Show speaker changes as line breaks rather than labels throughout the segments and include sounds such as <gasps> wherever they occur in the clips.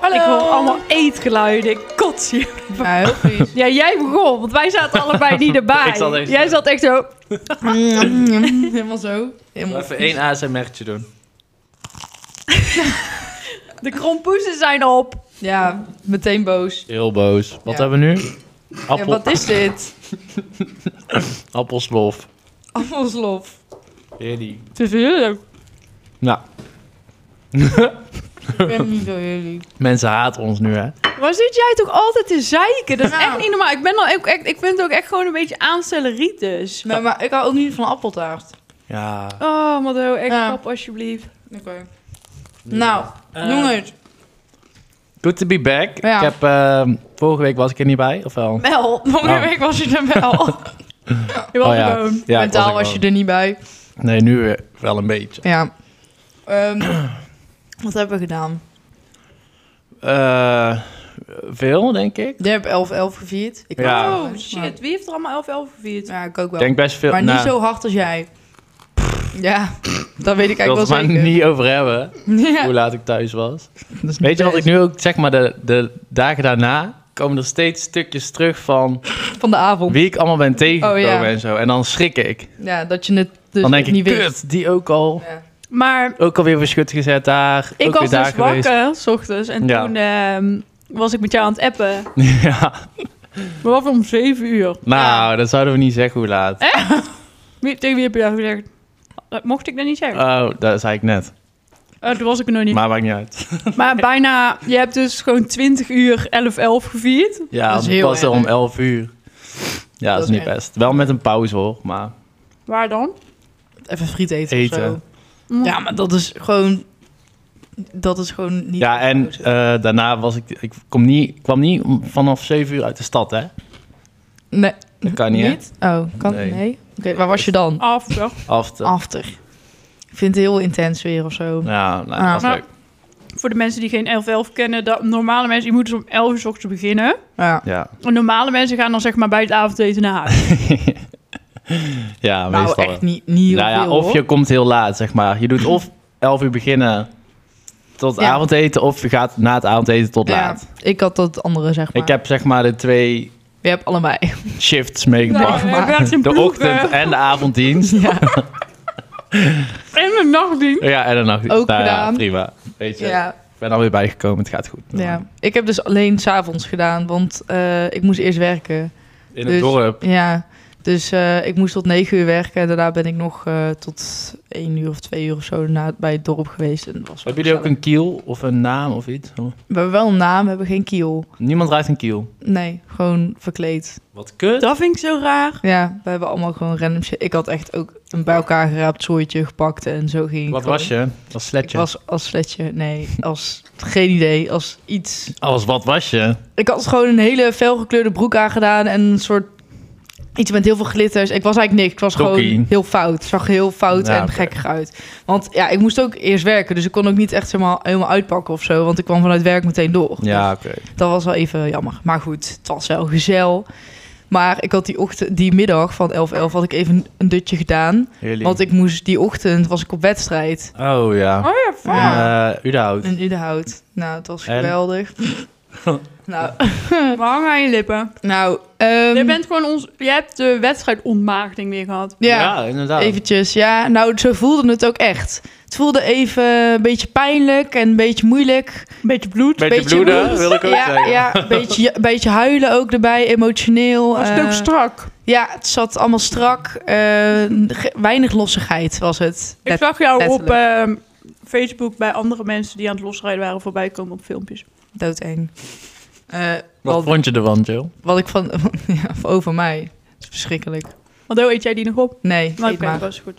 Hallo.
Ik hoor allemaal eetgeluiden. Ik kots hier.
Ja, heel
<laughs>
vies.
Ja, jij begon, want wij <laughs> zaten allebei niet erbij.
Ik zat echt-
jij zat echt zo... Mm,
Helemaal zo. Helemaal
Even één ASMR'tje doen.
De krompoezen zijn op.
Ja, meteen boos.
Heel boos. Wat
Ja.
hebben we nu?
Ja,
Appel,
wat is dit? <laughs>
Appelslof.
Appelslof.
Heerlijk.
Het is heerlijk.
Nou,
Ik ben niet zo
<laughs>
jullie.
mensen haten ons nu, hè?
Waar zit jij toch altijd te zeiken? Dat is
Nou.
echt niet normaal. Ik, ben dan ook echt, ik vind het ook echt gewoon een beetje aanstelleritis.
Maar, maar ik hou ook niet van appeltaart.
Ja.
Oh, Mado, echt
Ja.
kap alsjeblieft.
Oké. Nou,
Eh.
jongens.
Good to be back.
Ja.
Ik heb, ehm, vorige week was ik er niet bij, of wel?
Mel, vorige
Oh.
week was je er
<laughs>
wel.
Je was
Oh ja.
gewoon.
Ja, ik
Mentaal
er
was,
wel.
je er niet bij.
Nee, nu weer wel een beetje.
Ja.
<clears throat>
Ehm, wat hebben we gedaan?
Eh, veel, denk ik.
Je hebt 11-11 gevierd. Ik
Ja.
ook.
Oh shit, wie heeft er allemaal 11-11 gevierd?
Ja, ik ook
Ik
wel.
denk best veel.
maar niet
nou,
zo hard als jij. Ja, dat weet ik
Ik wil
eigenlijk
het
wel
maar
zeker.
niet over hebben,
<laughs> Ja.
hoe laat ik thuis was.
<laughs> Dat is
Weet je wat ik
best.
nu ook, zeg maar, de, de dagen daarna komen er steeds stukjes terug van
Van de avond.
wie ik allemaal ben tegengekomen
Oh, ja.
en zo. En dan schrik ik.
Ja, dat je het dus
dan denk ik,
niet weet.
kut, die ook al.
Ja.
Maar
Ook alweer weer schut gezet daar.
ik
ook
was
weer daar
dus
geweest.
wakker, s ochtends. En
Ja.
toen ehm, was ik met jou aan het appen.
<laughs> ja.
We waren om 7 uur.
Nou, dat zouden we niet zeggen hoe laat.
Wie, tegen wie heb je dat gezegd? Dat mocht ik dat niet zeggen.
Oh, dat zei ik net.
Eh, dat was ik er nog niet. Maar,
Maar maakt niet uit.
bijna, je hebt dus gewoon 20 uur 11-11 gevierd.
Ja,
Dat is
het
heel
was er om
erg.
11 uur. Ja, dat is
is
niet
erg.
best. Wel met een pauze hoor, maar...
Waar dan?
Even friet eten,
Eten.
of zo. Ja, maar dat is gewoon... Dat is gewoon niet...
Ja, en eh, daarna was ik... Ik kom niet, kwam niet om- vanaf 7 uur uit de stad, hè?
Nee.
Dat kan niet, hè?
Oh, kan
Nee.
nee. Oké, waar was je dan?
After.
After.
After. Ik vind het heel intens weer of zo.
Ja, nou,
Ah.
dat was
Nou,
leuk.
Voor de mensen die geen 11-11 kennen, dat normale mensen, je moet dus om 11 uur 's ochtends beginnen.
Ja.
Ja,
En normale mensen gaan dan zeg maar bij het avondeten naar huis.
ja
Nou,
meestal.
echt
wel.
niet, niet heel
nou ja,
veel,
of je
hoor.
komt heel laat, zeg maar. Je doet of 11 uur beginnen tot
Ja.
avondeten, of je gaat na het avondeten tot
Ja,
laat.
ik had dat andere, zeg maar.
Ik heb zeg maar de twee
Je hebt
<laughs>
allebei.
shifts meegemaakt.
Nou, er werd een
De
ploeg,
ochtend
eh,
en de avonddienst.
Ja.
en de nachtdienst.
Ja, en de nachtdienst.
Ook
Nou ja,
gedaan.
prima. Weet je,
ja.
ik ben alweer bijgekomen, het gaat goed.
Ja, ik heb dus alleen s'avonds gedaan, want eh, ik moest eerst werken.
In het
Dus-
dorp.
Ja, dus eh, ik moest tot negen uur werken en daarna ben ik nog eh, tot één uur of twee uur of zo na, bij het dorp geweest. En dat was wel
Hebben jullie
gezellig.
ook een kiel of een naam of iets? Oh.
We hebben wel een naam, we hebben geen kiel.
Niemand rijdt een kiel.
Nee, gewoon verkleed.
Wat kut.
Dat vind ik zo raar.
Ja, we hebben allemaal gewoon random shit. Ik had echt ook een bij elkaar geraapt zooitje gepakt en zo ging ik
Wat
gewoon.
was je? Als
Ik
sletje.
was als sletje, nee, als geen idee, als iets.
Oh, Als wat was je?
Ik had gewoon een hele felgekleurde broek aangedaan en een soort iets met heel veel glitters. Ik was eigenlijk niks. Ik was
Tokkie.
gewoon heel fout. Zag er heel fout
Ja,
en
oké.
gekkig uit. Want ja, ik moest ook eerst werken, dus ik kon ook niet echt helemaal, helemaal uitpakken of zo. Want ik kwam vanuit werk meteen door.
Ja, oké.
Dus dat was wel even jammer. Maar goed, het was wel gezel. Maar ik had die, ochtend, die middag van 11.11 had ik even een dutje gedaan.
Heerlijk.
Want ik Ah. moest die ochtend was ik op wedstrijd
Oh ja.
Oh ja, fuck.
En, eh Udenhout.
in Udenhout. Nou, het was
En? <laughs>
geweldig. nou,
We hangen Eh, aan je lippen.
nou ehm,
Jij bent gewoon ons... Jij hebt de wedstrijd ontmaagding weer gehad.
ja.
inderdaad.
Eventjes, ja. Nou, zo voelde het ook echt. Het voelde even een beetje pijnlijk en een beetje moeilijk.
Beetje bloed.
Beetje,
beetje
bloeden,
bloed.
wil ik ook
ja,
zeggen.
ja, een beetje, ja, een beetje huilen ook erbij, emotioneel.
Was het
eh,
ook strak?
ja, het zat allemaal strak. eh, ge- weinig lossigheid was het.
Ik
Dat-
zag jou op
letterlijk.
ehm, Facebook bij andere mensen die aan het losrijden waren voorbij komen op filmpjes.
Doodeng. Eh,
Wat
wat,
vond je ervan, Jill?
wat ik van... <laughs> ja, over mij. Het is verschrikkelijk.
Want hoe eet jij die nog op?
Nee,
Maar
eet
oké,
maar.
dat is goed.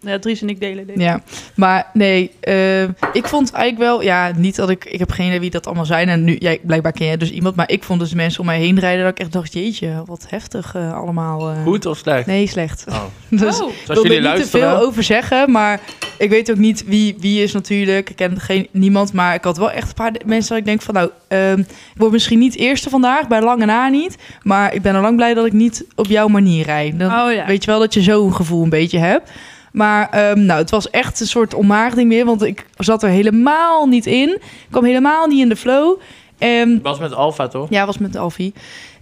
Ja, Dries en ik delen dit.
Ja, maar nee, eh, ik vond eigenlijk wel, ja, niet dat ik, ik heb geen idee wie dat allemaal zijn. En nu, jij, blijkbaar ken jij dus iemand, maar ik vond dus de mensen om mij heen rijden, dat ik echt dacht, jeetje, wat heftig eh, allemaal. eh.
Goed of slecht?
Nee, slecht.
Oh.
<laughs> Dus
Oh.
ik wil er niet te veel over zeggen, maar ik weet ook niet wie, wie is natuurlijk. Ik ken geen, niemand, maar ik had wel echt een paar mensen dat ik denk van, nou, ehm, ik word misschien niet eerste vandaag, bij lange na niet. Maar ik ben al lang blij dat ik niet op jouw manier rijd. Dan,
Oh ja.
Weet je wel dat je zo'n gevoel een beetje hebt. Maar ehm, nou, het was echt een soort ontmaagding meer, want ik zat er helemaal niet in. Ik kwam helemaal niet in de flow. En
was met Alfa, toch?
ja, was met Alfie.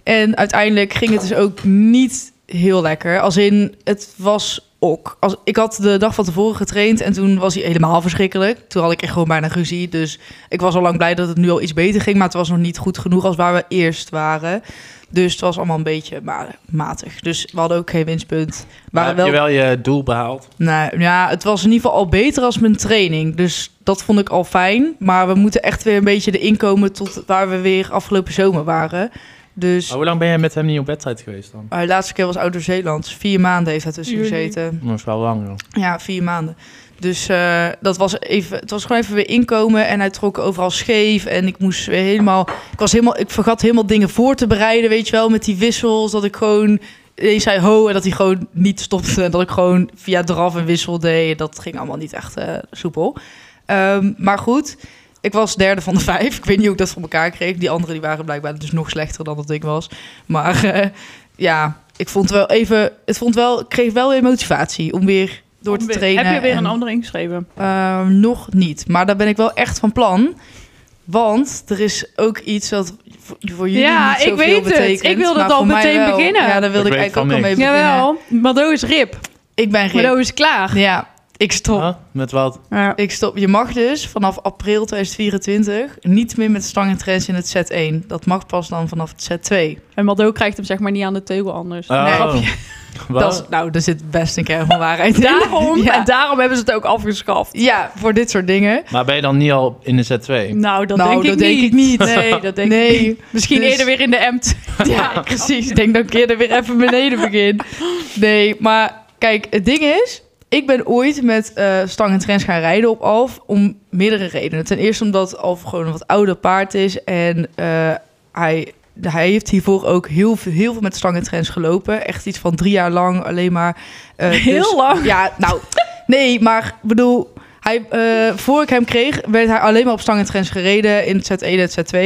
En uiteindelijk ging het dus ook niet heel lekker. Als in, het was ook. Als, ik had de dag van tevoren getraind en toen was hij helemaal verschrikkelijk. Toen had ik echt gewoon bijna ruzie. Dus ik was al lang blij dat het nu al iets beter ging. Maar het was nog niet goed genoeg als waar we eerst waren. Dus het was allemaal een beetje ma- matig. Dus we hadden ook geen winstpunt.
Maar
Waren
heb je
wel,
wel je doel behaald?
nou, ja, het was in ieder geval al beter als mijn training. Dus dat vond ik al fijn. Maar we moeten echt weer een beetje erin komen tot waar we weer afgelopen zomer waren. Dus
Maar hoe lang ben jij met hem niet op wedstrijd geweest dan?
maar de laatste keer was Oud-Zeeland. Vier maanden heeft hij tussen
Juli.
gezeten.
Dat is wel lang, joh.
Ja, vier maanden. Dus eh, dat was even, het was gewoon even weer inkomen. En hij trok overal scheef. En ik moest weer helemaal. Ik, was helemaal, ik vergat helemaal dingen voor te bereiden. Weet je wel, met die wissels. Dat ik gewoon. Ineens zei ho. En dat hij gewoon niet stopte. En dat ik gewoon via draf en wissel deed. Dat ging allemaal niet echt eh, soepel. Ehm, maar goed. Ik was derde van de <laughs> vijf. Ik weet niet hoe ik dat voor elkaar kreeg. Die anderen die waren blijkbaar dus nog slechter dan dat ik was. Maar eh, ja, ik vond wel even. Het vond wel, ik kreeg wel weer motivatie om weer door te
Om weer-
trainen.
Heb je weer
en-
een andere ingeschreven?
Ehm, nog niet. Maar daar ben ik wel echt van plan. Want er is ook iets wat voor voor jullie
Ja,
niet
ik
zoveel
weet het.
betekent.
Ik wilde
maar
het al
voor mij
meteen
wel.
beginnen.
Ja, daar wilde
Ik
ik,
weet
eigenlijk ook al
van
mee beginnen.
Jawel, Mado is rip.
Ik ben geen...
Mado is klaar.
Ja, ik stop.
Huh? Met wat?
Ja.
Ik stop. Je mag dus vanaf april 2024 niet meer met stangen trends in het set 1. Dat mag pas dan vanaf het set 2.
En Mado krijgt hem zeg maar niet aan de teugel anders.
Ah.
Nee.
Grapje. Oh. <laughs> Wat?
Dat is, nou, daar zit best een kern van waarheid
<laughs>
in.
Daarom,
Ja.
en daarom hebben ze het ook afgeschaft.
Ja, voor dit soort dingen.
Maar ben je dan niet al in de Z2?
Nou, dat,
Nou,
denk,
dat
ik
denk ik niet.
Nee, dat denk ik
Nee,
Misschien
Dus-
eerder weer in de
<laughs>
MT.
Ja, precies. Ik denk dat ik eerder weer even beneden begin. Nee, maar kijk, het ding is... Ik ben ooit met eh stang en trends gaan rijden op Alf om meerdere redenen. Ten eerste omdat Alf gewoon een wat ouder paard is. En eh, hij, hij heeft hiervoor ook heel, veel- heel veel met stang en trends gelopen. Echt iets van drie jaar lang alleen maar. eh,
Heel
dus-
lang?
Ja, nou, nee, maar ik bedoel... Hij, eh, voor ik hem kreeg, werd hij alleen maar op stang en trends gereden in het Z1 en het Z2.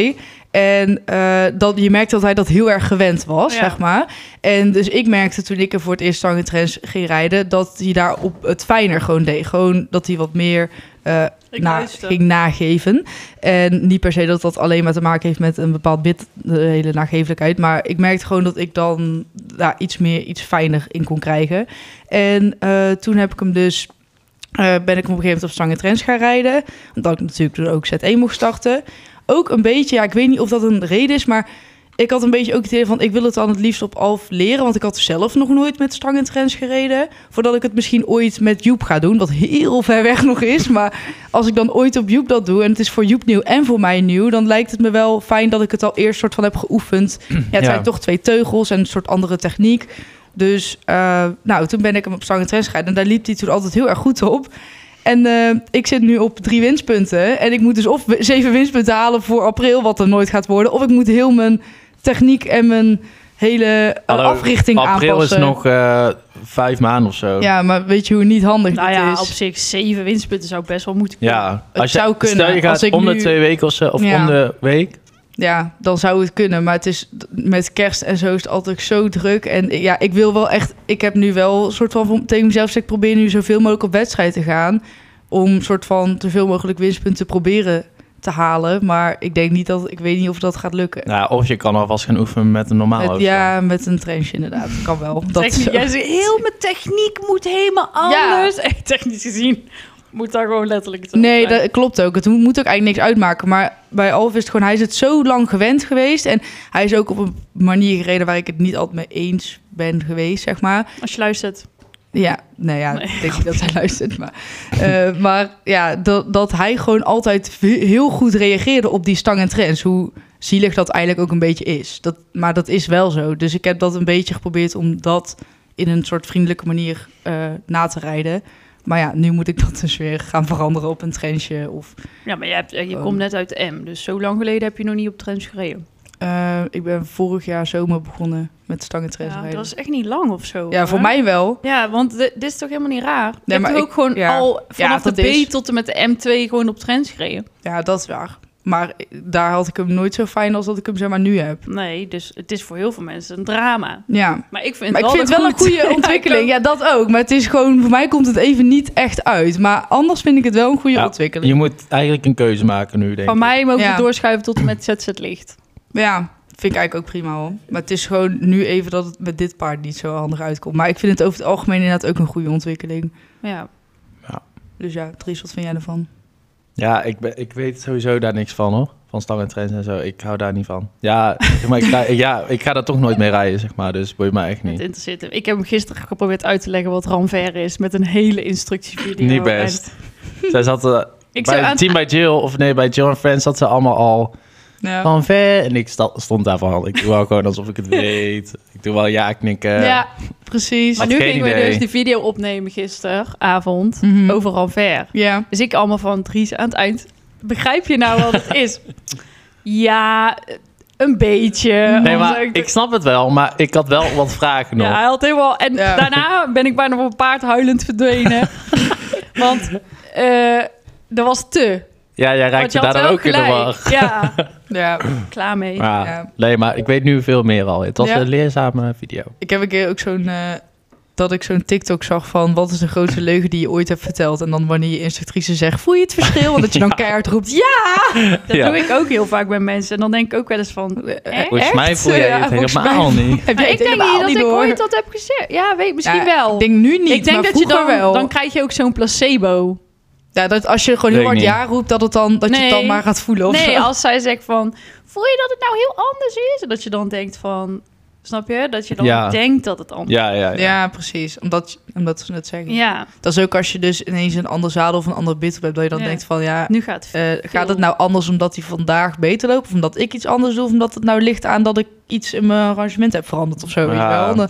En eh, dat, je merkte dat hij dat heel erg gewend was,
Ja.
zeg maar. En dus ik merkte toen ik er voor het eerst stang en trends ging rijden... dat hij daar op het fijner gewoon deed. Gewoon dat hij wat meer eh,
Ik
na,
luister.
ging nageven. En niet per se dat dat alleen maar te maken heeft met een bepaald bit, de hele nagevelijkheid. Maar ik merkte gewoon dat ik dan daar iets meer, iets fijner in kon krijgen. En eh, toen heb ik hem dus, eh, ben ik hem op een gegeven moment op Stangen Trends gaan rijden. Omdat ik natuurlijk toen ook Z1 mocht starten. Ook een beetje, ja, ik weet niet of dat een reden is, maar... Ik had een beetje ook het idee van, ik wil het dan het liefst op Alf leren. Want ik had zelf nog nooit met Stangen Trends gereden. Voordat ik het misschien ooit met Joep ga doen. Wat heel ver weg nog is. Maar als ik dan ooit op Joep dat doe en het is voor Joep nieuw en voor mij nieuw, dan lijkt het me wel fijn dat ik het al eerst soort van heb geoefend. Ja, het zijn toch twee teugels en een soort andere techniek. Dus eh, nou, toen ben ik hem op Stang en Trends gegaan en daar liep hij toen altijd heel erg goed op. En eh, ik zit nu op drie winstpunten. En ik moet dus of we- zeven winstpunten halen voor april, wat er nooit gaat worden. Of ik moet heel mijn techniek en mijn hele eh,
Hallo,
africhting
April
aanpassen.
is nog eh, vijf maanden of zo.
Ja, maar weet je hoe niet handig
Nou
dit
ja,
is?
op zich, zeven winstpunten zou best wel moeten kunnen.
Ja,
Het zou kunnen,
Stel je gaat
als ik
om de
nu-
twee weken of, zo, of
Ja.
om de week.
Ja, dan zou het kunnen. Maar het is met kerst en zo is het altijd zo druk. En ja, ik wil wel echt. Ik heb nu wel een soort van voor- tegen mezelf gezegd: ik probeer nu zoveel mogelijk op wedstrijd te gaan. Om een soort van zoveel mogelijk winstpunten te proberen te halen. Maar ik denk niet dat. Ik weet niet of dat gaat lukken.
Nou, of je kan alvast gaan oefenen met een normaal.
Met-
hoofd.
ja, met een trench inderdaad. Kan wel. Dat is
Techniek,
zo.
jij zegt, heel mijn techniek moet helemaal
Ja.
anders. <laughs> En Technisch gezien moet daar gewoon letterlijk het
Nee, dat klopt ook. Het moet ook eigenlijk niks uitmaken. Maar bij Alf is het gewoon, hij is het zo lang gewend geweest. En hij is ook op een manier gereden waar ik het niet altijd mee eens ben geweest, zeg maar.
Als je luistert.
Ja, nou ja,
Nee,
ik denk niet dat hij luistert. Maar, eh, maar ja, dat, dat hij gewoon altijd ve- heel goed reageerde op die stang en trends. Hoe zielig dat eigenlijk ook een beetje is. Dat, maar dat is wel zo. Dus ik heb dat een beetje geprobeerd om dat in een soort vriendelijke manier eh, na te rijden. Maar ja, nu moet ik dat dus weer gaan veranderen op een trenchje. Of,
Ja, maar je, hebt, eh, je
Oh.
komt net uit de M, dus zo lang geleden heb je nog niet op trends gereden.
eh, ik ben vorig jaar zomer begonnen met stang en trends
Ja, dat
rijden.
was echt niet lang of zo.
Ja, voor
hè?
mij wel.
Ja, want di- dit is toch helemaal niet raar? Je hebt
maar
toch ook
ik-
gewoon
ja.
al
Ja,
vanaf
dat
de B
is-
tot en met de M2 gewoon op trends gereden?
Ja, dat is waar. Maar eh, daar had ik hem nooit zo fijn als dat ik hem zeg maar nu heb.
Nee, dus het is voor heel veel mensen een drama.
Ja.
Maar ik vind,
Maar ik vind het wel een
goed. Ja,
goede
ik
ontwikkeling.
ook.
<laughs> Ja, dat ook. Maar het is gewoon, voor mij komt het even niet echt uit. Maar anders vind ik het wel een goede
Ja,
ontwikkeling.
Je moet eigenlijk een keuze maken nu, denk
Van
ik.
mij mogen we
Ja.
doorschuiven tot en met ZZ Licht.
Ja, vind ik eigenlijk ook prima hoor. Maar het is gewoon nu even dat het met dit paard niet zo handig uitkomt. Maar ik vind het over het algemeen inderdaad ook een goede ontwikkeling.
Ja.
Dus ja, Dries, wat vind jij ervan?
Ja, ik, ben, ik weet sowieso daar niks van, hoor. Van stang en trends en zo. Ik hou daar niet van. Ja, <laughs> zeg maar, ik, ga- ja ik ga daar toch nooit mee rijden, zeg maar. Dus boeit mij echt
Het <laughs>
niet.
interesseert hem. Ik heb hem gisteren geprobeerd uit te leggen wat Ramver is met een hele instructievideo.
Niet best. Zij zat eh,
En Ik zou
bij
aan...
Team by Jill, of nee, bij Jill en Friends zat ze allemaal al
Ja.
van ver. En ik sta- stond daar van, ik doe wel gewoon alsof ik het weet. Ik doe wel ja knikken.
Ja,
Precies.
maar
Had
nu
geen
gingen we
idee.
dus die video opnemen gisteravond
Mhm.
over Ramver.
Ja.
Dus ik allemaal van Dries aan het eind. Begrijp je nou wat het is? <laughs> Ja, een beetje.
Nee,
Of
maar
zo.
ik snap het wel, maar ik had wel wat vragen nog.
Ja, hij had helemaal... En
Ja.
daarna ben ik bijna op een paard huilend
<laughs>
verdwenen. Want eh dat was te.
Ja, jij raakte daar dan ook in de war.
Ja,
ja.
klaar mee.
Ja.
Ja.
Nee, maar ik weet nu veel meer al. Het was
Ja.
een leerzame video.
Ik heb een keer ook zo'n... eh, dat ik zo'n TikTok zag van... wat is de grootste leugen die je ooit hebt verteld? En dan wanneer je instructrice zegt... voel je het
<laughs>
verschil? En dat je dan keihard roept... ja,
Dat
Ja.
doe ik ook heel vaak bij mensen. En dan denk ik ook wel eens van... eh?
Volgens mij
Echt?
voel jij
Ja,
het
volgens
helemaal niet.
heb
Maar
jij
ik
het
denk niet
helemaal
dat ik
door?
ooit dat heb gezegd. Ja, weet misschien
Ja,
wel.
Ik denk nu niet,
ik denk dat je dan,
wel.
dan krijg je ook zo'n placebo.
Ja, dat als je gewoon heel
Weet
hard
ik
ja roept... dat, het dan, dat je het dan
Nee.
maar gaat voelen of
Nee,
zo.
als zij zegt van, voel je dat het nou heel anders is? En dat je dan denkt van, snap je? Dat je dan
Ja.
denkt dat het anders
Ja, ja, ja.
Ja, precies. Omdat, omdat ze het zeggen.
is. Ja,
Dat is ook als je dus ineens een ander zadel of een ander bit op hebt... dat je dan
Ja.
denkt van ja...
nu gaat het.
eh, gaat het nou anders omdat hij vandaag beter loopt? Of omdat ik iets anders doe? Of omdat het nou ligt aan dat ik iets in mijn arrangement heb veranderd of zo? Weet je
Ja.
wel? Dan,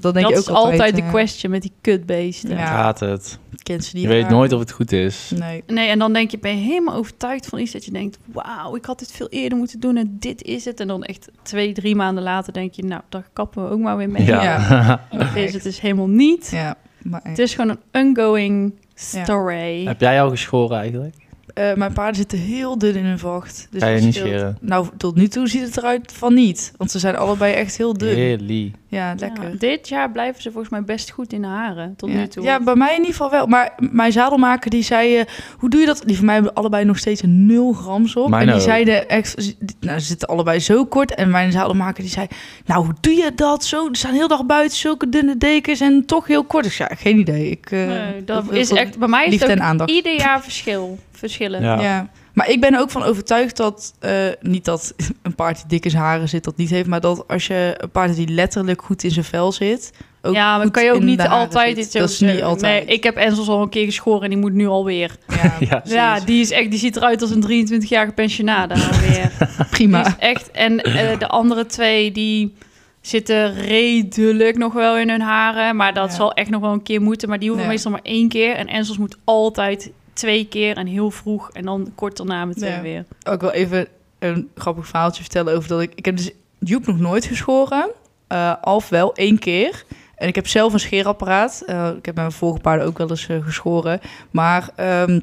dan denk
dat
je ook
is altijd, de
eh,
question met die kutbeesten.
Ja.
Gaat het.
Kent ze die
Je weet
raar.
nooit of het goed is.
Nee.
Nee, en dan denk je, ben je helemaal overtuigd van iets dat je denkt, wauw, ik had dit veel eerder moeten doen en dit is het. En dan echt twee, drie maanden later denk je, nou, daar kappen we ook maar weer mee.
Ja.
Deze het is helemaal niet.
Ja, maar
Het
echt.
is gewoon een ongoing story.
Heb jij al geschoren eigenlijk?
Eh, mijn paarden zitten heel dun in hun vacht. Dus
Ga je
dat
niet
scheelt.
scheren?
Nou, tot nu toe ziet het eruit van niet. Want ze zijn allebei echt heel dun.
Really?
Ja, lekker.
Ja, dit jaar blijven ze volgens mij best goed in de haren tot
ja.
nu toe.
Ja, bij mij in ieder geval wel. Maar mijn zadelmaker die zei, eh, hoe doe je dat? Die van mij hebben allebei nog steeds een nul grams op.
Mijn
en die
ook.
zeiden echt, die- nou ze zitten allebei zo kort. En mijn zadelmaker die zei, nou hoe doe je dat zo? Ze staan heel dag buiten, zulke dunne dekens en toch heel kort. Ik zei, ja, geen idee. Ik, eh,
Nee, dat
wil
is
veel
echt bij mij is
liefde
het ook
en aandacht.
ieder jaar verschil, verschillen.
Ja.
Ja. Maar ik ben er ook van overtuigd dat, eh, niet dat <laughs> een paard die dik in zijn haren zit dat niet heeft, maar dat als je een paard hebt die letterlijk goed in zijn vel zit. Ook
Ja, maar
goed
kan je ook
in
niet
de haren
altijd
zit.
iets over
Dat is niet
zeggen.
altijd.
Nee, ik heb Enzels al een keer geschoren en die moet nu alweer.
Ja,
<laughs> Ja.
precies.
Ja, die, is echt, die ziet eruit als een 23-jarige
<laughs>
pensionade alweer. Die
prima.
is echt, en eh, de andere twee die zitten redelijk nog wel in hun haren. Maar dat
Ja.
zal echt nog wel een keer moeten. Maar die hoeven
Ja.
meestal maar één keer. En Enzels moet altijd twee keer en heel vroeg. En dan kort daarna meteen
Ja.
weer.
ook wel even een grappig verhaaltje vertellen over dat ik... Ik heb dus Joep nog nooit geschoren. eh Alf wel, één keer. En ik heb zelf een scheerapparaat. Eh, ik heb bij mijn vorige paarden ook wel eens eh, geschoren. Maar ehm,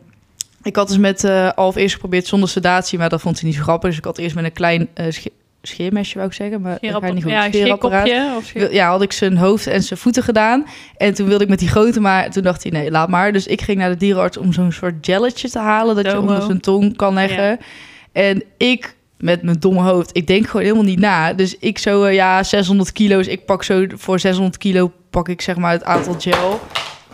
ik had dus met eh, Alf eerst geprobeerd zonder sedatie. Maar dat vond hij niet zo grappig. Dus ik had eerst met een klein eh, sche- scheermesje, wou ik zeggen. Maar dat ga
Scheerappara-
niet goed.
ja, een
Scheerapparaat.
scheerkopje. Of scheer-
Wil- Ja, had ik zijn hoofd en zijn voeten gedaan. En toen wilde ik met die grote, maar toen dacht hij, nee, laat maar. Dus ik ging naar de dierenarts om zo'n soort gelletje te halen... dat je
Domo.
onder zijn tong kan leggen.
Ja.
En ik, met mijn domme hoofd, ik denk gewoon helemaal niet na. Dus ik zo, eh, ja, 600 kilo's. Ik pak zo, voor 600 kilo pak ik zeg maar het aantal gel.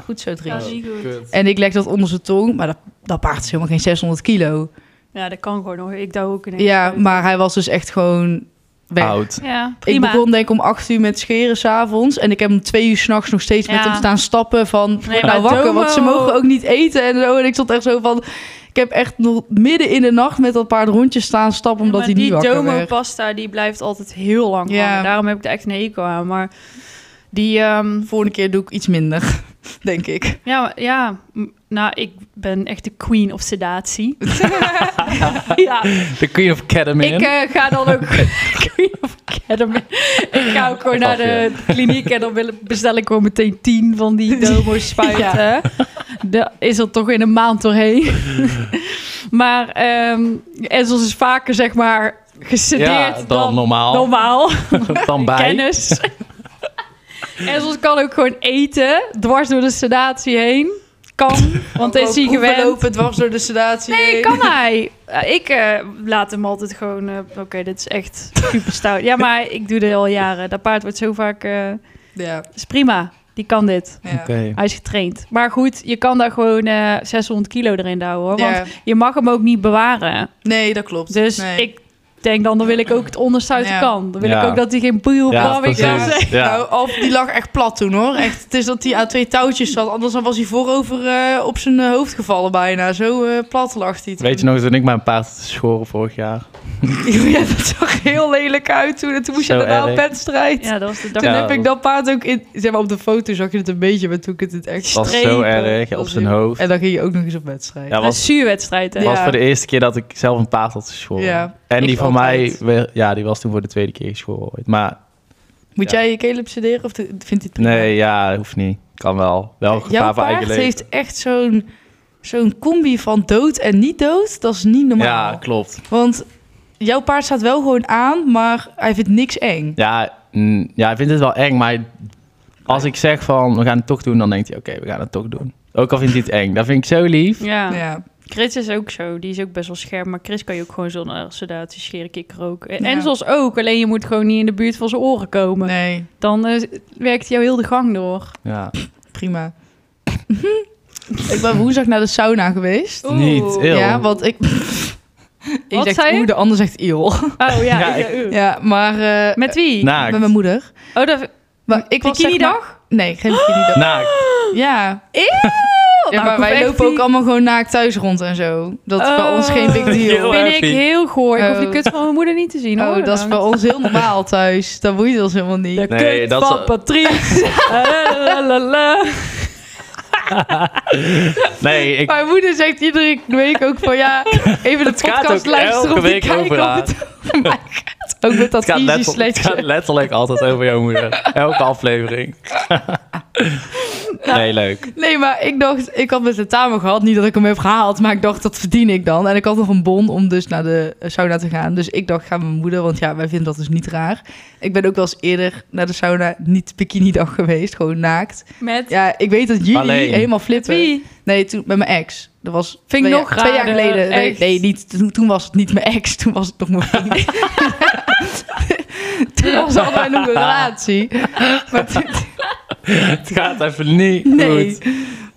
Goed zo, Dries.
Ja, dat is niet goed.
En ik leg dat onder zijn tong, maar dat, dat paard is helemaal geen 600 kilo.
Ja, dat kan gewoon nog. Ik douw ook in.
Ja, maar hij was dus echt gewoon weg.
Oud.
Ja,
Ik
prima.
begon denk ik om 8 uur met scheren s'avonds. En ik heb om twee uur s'nachts nog steeds met
Ja.
hem staan stappen van... word
maar
nou wakker,
domo.
want ze mogen ook niet eten en zo. En ik stond echt zo van... Ik heb echt nog midden in de nacht met dat paard rondjes staan stappen... omdat
Maar
hij niet
die
wakker
domo
werd.
pasta die blijft altijd heel lang
Ja.
hangen. Daarom heb ik er echt een hekel aan. Maar die, ehm,
De volgende keer doe ik iets minder, <laughs> denk ik.
ja, maar- ja, m- nou, ik ben echt de queen of
<laughs>
sedatie. <laughs> ja,
De Queen of Ketamine.
ik eh, ga dan
<laughs>
ook queen of ketamine. Ik ga ook gewoon naar de kliniek en dan wil- bestel ik gewoon meteen tien van
<laughs>
die domo spuiten.
Ja.
<laughs>
Daar is er toch in een maand doorheen. Maar ehm Ezels is vaker, zeg maar, gesedeerd
Ja, dan,
dan,
normaal.
normaal.
<laughs> dan bij.
Kennis. Ezels kan ook gewoon eten, dwars door de sedatie heen. Kan,
<laughs>
want hij is hij gewend.
lopen dwars door de sedatie.
Nee,
heen.
kan hij. Eh, ik eh, laat hem altijd gewoon... eh, Oké, dit is echt super stout. Ja, maar ik doe dit al jaren. Dat paard wordt zo vaak... eh,
Ja,
is prima, die kan dit.
ja.
Oké.
Hij is getraind. Maar goed, je kan daar gewoon eh, 600 kilo erin houden. Hoor, want
Ja.
je mag hem ook niet bewaren.
Nee, dat klopt.
Dus
Nee.
ik denk dan, dan wil ik ook het onderste uit
Ja.
de kan. Dan wil
Ja.
ik ook dat hij geen boel
Ja,
ja, kan
precies.
zeggen.
Ja.
Nou, Alf, die lag echt plat toen hoor. Echt, het is dat hij aan twee touwtjes zat. Anders dan was hij voorover eh, op zijn eh, hoofd gevallen bijna. Zo eh, plat lag hij. toen.
Weet je nog, toen ik mijn paard schoren vorig jaar.
<laughs> ja, dat zag heel lelijk uit toen. En toen moest je
Zo
daarna op
erg.
wedstrijd.
Ja, dat was de dag.
Toen
Ja.
heb ik dat paard ook in... Zeg maar, op de foto zag je het een beetje, maar toen ik het het echt...
Dat was zo
Strepen.
erg, ja, op
Dat
zijn
is-
hoofd.
En dan ging je ook nog eens op wedstrijd.
Ja,
Een
was,
zuurwedstrijd, hè?
Ja.
was voor de eerste keer dat ik zelf een paard had geschoren.
Ja,
en die
ik
van mij,
altijd.
weer- ja, die was toen voor de tweede keer geschoren ooit. Maar
Moet
Ja.
jij je Caleb sederen of de- vindt hij het prima?
nee, ja, hoeft niet. Kan wel. Wel gevaar
Jouw
voor eigen
paard
leven.
heeft echt zo'n zo'n combi van dood en niet dood. Dat is niet normaal.
Ja, klopt.
Want jouw paard staat wel gewoon aan, maar hij vindt niks eng.
Ja, mm, ja, hij vindt het wel eng, maar als ik zeg van we gaan het toch doen, dan denkt hij oké, we gaan het toch doen. Ook al vindt hij het eng. Dat vind ik zo lief.
Ja.
Ja.
Chris is ook zo. Die is ook best wel scherp. Maar Chris kan je ook gewoon zonder sedatie scheren, kikker ook. En,
Ja.
en zoals ook. Alleen je moet gewoon niet in de buurt van zijn oren komen.
Nee,
Dan eh, werkt jou heel de gang door.
Ja.
prima. <laughs> ik ben woensdag naar de sauna geweest.
Oeh.
Niet, eeuw.
Ja, want ik... <laughs> Eén
Wat
zegt
zei je?
oeh, de ander zegt eeuw. <laughs>
Oh ja.
Ja,
ik- eh,
Ja, maar... eh,
Met wie?
Naakt.
Met mijn moeder.
Oh, dat...
Maar ik was zeg maar-
Bikinidag?
Nee, geen
<gasps>
bikinidag.
Naakt.
Ja. Ja,
Nou, ik
maar
hoef
wij
echt
lopen
niet-
ook allemaal gewoon naakt thuis rond en zo. Dat is bij
Oh.
ons geen big deal.
Heel
vind
erg
ik
vies.
heel goor. Ik hoef de
Oh.
kut van mijn moeder niet te zien. hoor,
Oh, dat is bij
bedankt.
ons heel normaal thuis. Dat boeit ons helemaal niet.
De
Nee,
kut
dat is-
van Patrice. La, la, la, la.
Nee, ik,
Mijn moeder zegt iedere week ook van ja, even de
gaat
podcast
ook
luisteren
elke
om te
week over
kijken of
haar.
het <laughs> over mij gaat. Ook met dat
het, gaat
easy
letterlijk, het gaat
sletje.
letterlijk altijd over jouw moeder. Elke aflevering. Nee, leuk.
Nee, maar ik dacht, ik had mijn tentamen gehad. Niet dat ik hem heb gehaald, maar ik dacht, dat verdien ik dan. En ik had nog een bon om dus naar de eh, sauna te gaan. Dus ik dacht, ga met mijn moeder, want ja, wij vinden dat dus niet raar. Ik ben ook wel eens eerder naar de sauna niet bikinidag geweest, gewoon naakt.
Met
Ja, ik weet dat jullie
Alleen.
helemaal flippen.
wie?
Nee, toen met mijn ex. Dat was
Vind ik
twee
nog
jaar, twee jaar
raarder,
geleden. Nee,
echt.
nee, niet, toen, toen was het niet mijn ex. Toen was het nog mijn
<laughs>
vriend. toen was al mijn nieuwe relatie. Maar toen,
Het gaat even niet
nee.
goed.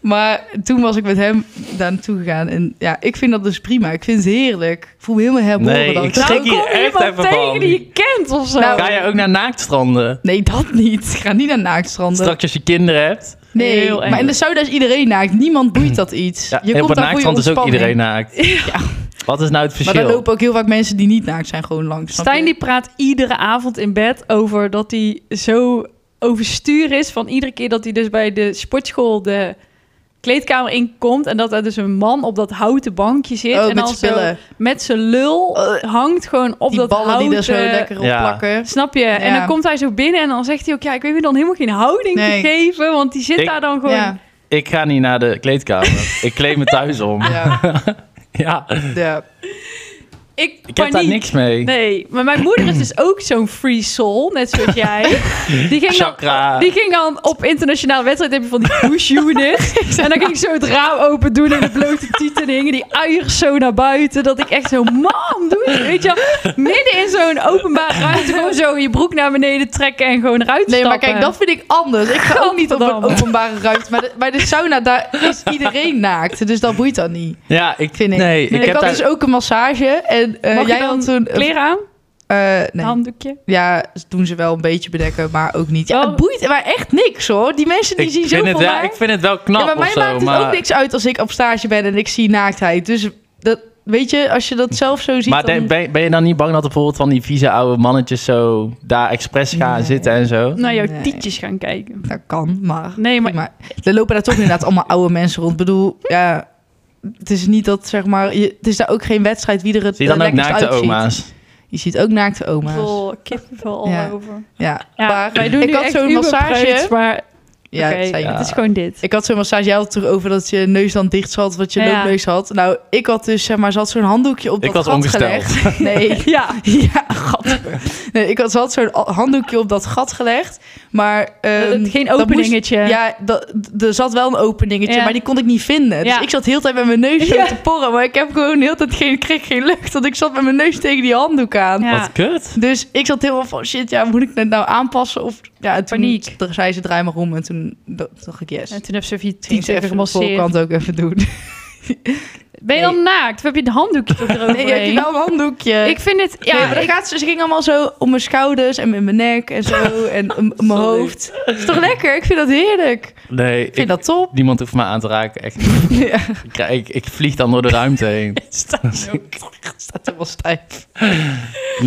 Maar toen was ik met hem daar naartoe gegaan. En ja, ik vind dat dus prima. Ik vind het heerlijk. Ik voel me helemaal herboren.
Nee,
dan.
ik
Nou,
schrik
kom
hier
je
echt
iemand
even
tegen
van.
die je kent of zo?
Nou,
Ga jij ook naar naaktstranden?
Nee, dat niet. Ik ga niet naar naaktstranden.
Straks als je kinderen hebt.
nee,
Heel eng.
maar in de sauna is iedereen naakt. Niemand boeit dat iets.
Ja,
je
en op
komt
een
daar voor je
naaktstrand is ook
ontspanning.
iedereen
<laughs>
naakt. Wat is nou het
Maar daar
verschil?
lopen ook heel vaak mensen die niet naakt zijn gewoon langs. snap je?
Stijn die praat iedere avond in bed over dat hij zo overstuur is van iedere keer dat hij dus bij de sportschool de kleedkamer inkomt en dat er dus een man op dat houten bankje zit
Oh,
en
met
dan
zijn
zo
billen.
met zijn lul
Eh,
hangt gewoon op
die
dat
ballen
houten...
die er zo lekker op
Ja.
plakken.
Snap je? En
Ja.
dan komt hij zo binnen en dan zegt hij ook... Ja, ik weet me dan helemaal geen houding
Nee.
te geven. Want die zit
Ik-
daar dan gewoon...
Ja,
Ik ga niet naar de kleedkamer. ik kleed me thuis om. Ja,
<laughs>
<laughs>
ja,
Ik,
ik heb
paniek.
daar niks mee.
Nee, maar mijn moeder is dus ook zo'n free soul, net zoals
<laughs>
jij. Die ging
Chakra.
Oh,
dan, die ging dan op internationale wedstrijd heb je van die push
<laughs>
unit. en dan ging ik zo het raam open doen en de blote tieten hingen die uiers zo naar buiten. Dat ik echt zo, mam, doe het. Weet je wel, midden in zo'n openbare ruimte gewoon zo je broek naar beneden trekken en gewoon eruit
Nee, maar
stappen.
kijk, dat vind ik anders. Ik ga ook niet op een
Gadverdamme.
openbare ruimte. Maar de- bij de sauna, daar is iedereen naakt. Dus dat boeit dan niet,
Ja, ik
vind ik.
Nee, ik
ik
heb
had
daar...
dus ook een massage. En eh,
Mag
jij
je dan
had toen...
kleren aan,
eh, nee.
handdoekje.
Ja, ze doen ze wel een beetje bedekken, maar ook niet. Ja,
Oh.
het boeit maar echt niks, hoor. Die mensen die
ik,
zien
vind
zoveel
het, ja,
naakt.
ik vind het wel knap
ja, maar
of
mij
zo.
maakt het dus
maar
ook niks uit als ik op stage ben en ik zie naaktheid. Dus dat, weet je, als je dat zelf zo ziet...
maar
dan...
de- ben, ben je dan niet bang dat er bijvoorbeeld van die vieze oude mannetjes zo daar expres gaan
Nee.
zitten en zo?
Naar jouw
Nee.
tietjes gaan kijken.
Dat kan, maar...
Nee, maar
Maar er lopen daar toch inderdaad allemaal oude mensen rond. Ik bedoel, ja, het is niet dat, zeg maar... Je, het is daar ook geen wedstrijd wie er het
Zie je dan
eh,
ook
lekkerst
naakte
uitziet.
oma's?
Je ziet ook naakte oma's.
vol kippenvel al
Ja.
over.
Ja,
Ja,
maar
wij doen
ik
nu
had
echt
zo'n
uberpreuts,
massage.
maar
Ja,
Oké,
dat zei je.
het is gewoon dit.
Ik had zo'n massage, jij had het toch over dat je neus dan dicht zat, wat je
Ja.
loopneus had. Nou, ik had dus, zeg maar, ze had zo'n handdoekje op
Ik
dat
was
gat
ongesteld. <laughs>
gelegd.
<laughs>
Nee,
Ja.
ja, gat. Nee, ik had, ze had zo'n a- handdoekje op dat gat gelegd, maar...
Dat
ehm,
het geen
dat moest-
openingetje.
ja, dat, d- er zat wel een openingetje,
Ja.
maar die kon ik niet vinden. Dus
Ja.
ik zat heel de tijd met mijn neus zo
Ja.
te porren, maar ik heb gewoon de hele tijd geen, kreeg geen lucht, want ik zat met mijn neus tegen die handdoek aan.
Ja.
Wat kut.
Dus ik zat helemaal van, shit, ja, moet ik het nou aanpassen? Of, ja, en toen
Paniek.
Toen zei ze, draai maar om. En toen d- dacht ik, yes.
En toen heb ze even je
Ging
tientje even
ze even de
gemasseerd.
voorkant ook even doen.
Ben je
Nee.
dan naakt? Of heb je een handdoekje
<laughs>
eroverheen?
Nee, heb je wel een handdoekje?
Ik vind het...
ja,
Ja,
maar dan
ik-
gaat ze, ze ging allemaal zo om mijn schouders en in mijn nek en
<laughs>
zo. en om om mijn
Sorry.
hoofd. is toch lekker? Ik vind dat heerlijk. Ik
Nee, ik,
vind dat
<laughs>
top.
niemand hoeft me aan te raken. Echt.
Ja,
Ik, krijg- ik, ik vlieg dan door de ruimte heen.
staat helemaal stijf.
Nee,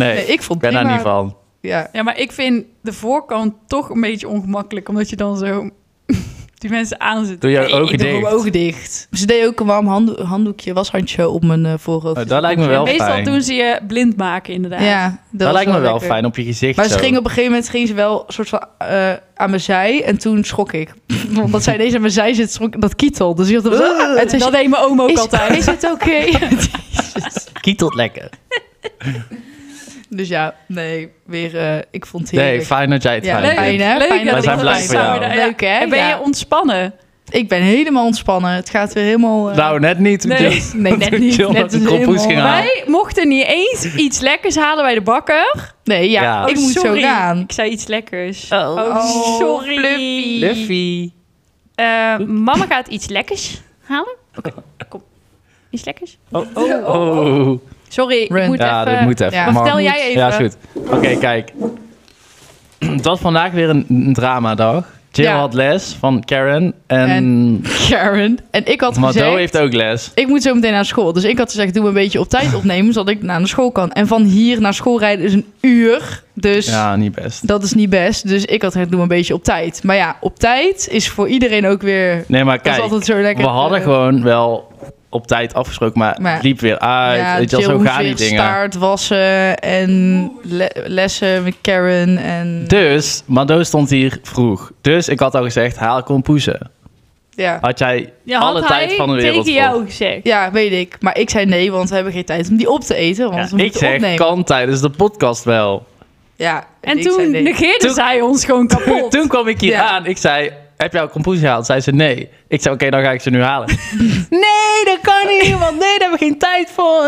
<laughs> Nee,
ik
ik vond
ben daar
prima.
niet van.
Ja.
Ja, maar ik vind de voorkant toch een beetje ongemakkelijk, omdat je dan zo <laughs> die mensen aanzit.
Doe jouw ogen
Ik doe
dicht.
mijn ogen dicht. Ze deed ook een warm handdoek, handdoekje, washandje op mijn eh, voorhoofd.
Nou, dat lijkt me wel
Meestal
fijn.
doen ze je blind maken, inderdaad.
Ja, dat,
dat
was
lijkt me wel
lekker.
fijn op je gezicht.
Maar
zo.
ze ging op een gegeven moment ging ze wel een soort van eh, aan mijn zij. En toen schrok ik. <laughs> Omdat zij ineens aan mijn zij zit, schrok ik dat kietel. Dus ik dacht,
<laughs>
"Ah." en toen
dat
zei
deed mijn oom ook
ze, is,
altijd.
is het oké? <laughs>
Kietelt lekker.
dus ja, nee, weer, eh, ik vond het heerlijk.
Nee, fijn dat jij het
Ja,
fijn
fijn
vindt.
hè?
Leuk,
Fijn
hè?
dat
We zijn
ik
blij
het
voor jou.
fijn vond. Leuk hè?
En ben
Ja.
je ontspannen?
Ik ben helemaal ontspannen. Het gaat weer helemaal... eh,
Nou, net niet.
Nee.
Jill.
nee,
<laughs>
net niet.
Jill
Net
dat ik
is
op poes
helemaal-
ging halen.
Wij mochten niet eens iets lekkers halen bij de bakker.
Nee, ja,
Ja.
ik
Oh,
moet
sorry.
zo gaan.
Ik zei iets lekkers.
Oh.
Oh,
sorry.
Fluffy.
Luffy.
Eh, mama gaat iets lekkers halen. Oké, kom. Iets lekkers?
Oh, oh, oh.
Sorry,
Run.
ik moet
Ja,
even...
dat moet even.
Ja.
Maar-
Maar vertel jij even.
Ja, is goed. Oké, kijk. <clears throat> Het was vandaag weer een, een dramadag. Jill
Ja.
had les van Karen. En,
Karen. En ik had gezegd...
Mado heeft ook les.
Ik moet zo meteen naar school. Dus ik had gezegd, doe me een beetje op tijd opnemen, zodat ik naar school kan. En van hier naar school rijden is een uur. Dus
Ja, niet best.
dat is niet best. Dus ik had gezegd, doe me een beetje op tijd. Maar ja, op tijd is voor iedereen ook weer...
Nee, maar
dat is
kijk.
altijd zo lekker.
We hadden
eh,
gewoon wel op tijd afgesproken, maar,
Maar-
het liep weer uit.
ja,
eh, weet je wel,
Jill
zo
moest
gaan die
weer
dingen.
staart wassen en le- lessen met Karen en...
Dus, Mado stond hier vroeg. Dus ik had al gezegd, haal kompoezen.
ja.
Had jij
Ja, had
alle
hij
tijd van de wereld
tegen
voor.
jou gezegd.
ja, weet ik. Maar ik zei nee, want we hebben geen tijd om die op te eten. Want
Ja,
we
ik
moeten
zeg,
opnemen.
kan tijdens de podcast wel.
Ja,
En
ik zei
toen
nee.
negeerde
Toen-
zij ons gewoon kapot.
<laughs> Toen kwam ik hier
Ja.
aan. Ik zei, heb jij al kompoezen gehaald? Zei ze, nee. Ik zei, oké, dan ga ik ze nu halen. <laughs> nee, dat kan niet, want nee, daar hebben we geen tijd voor.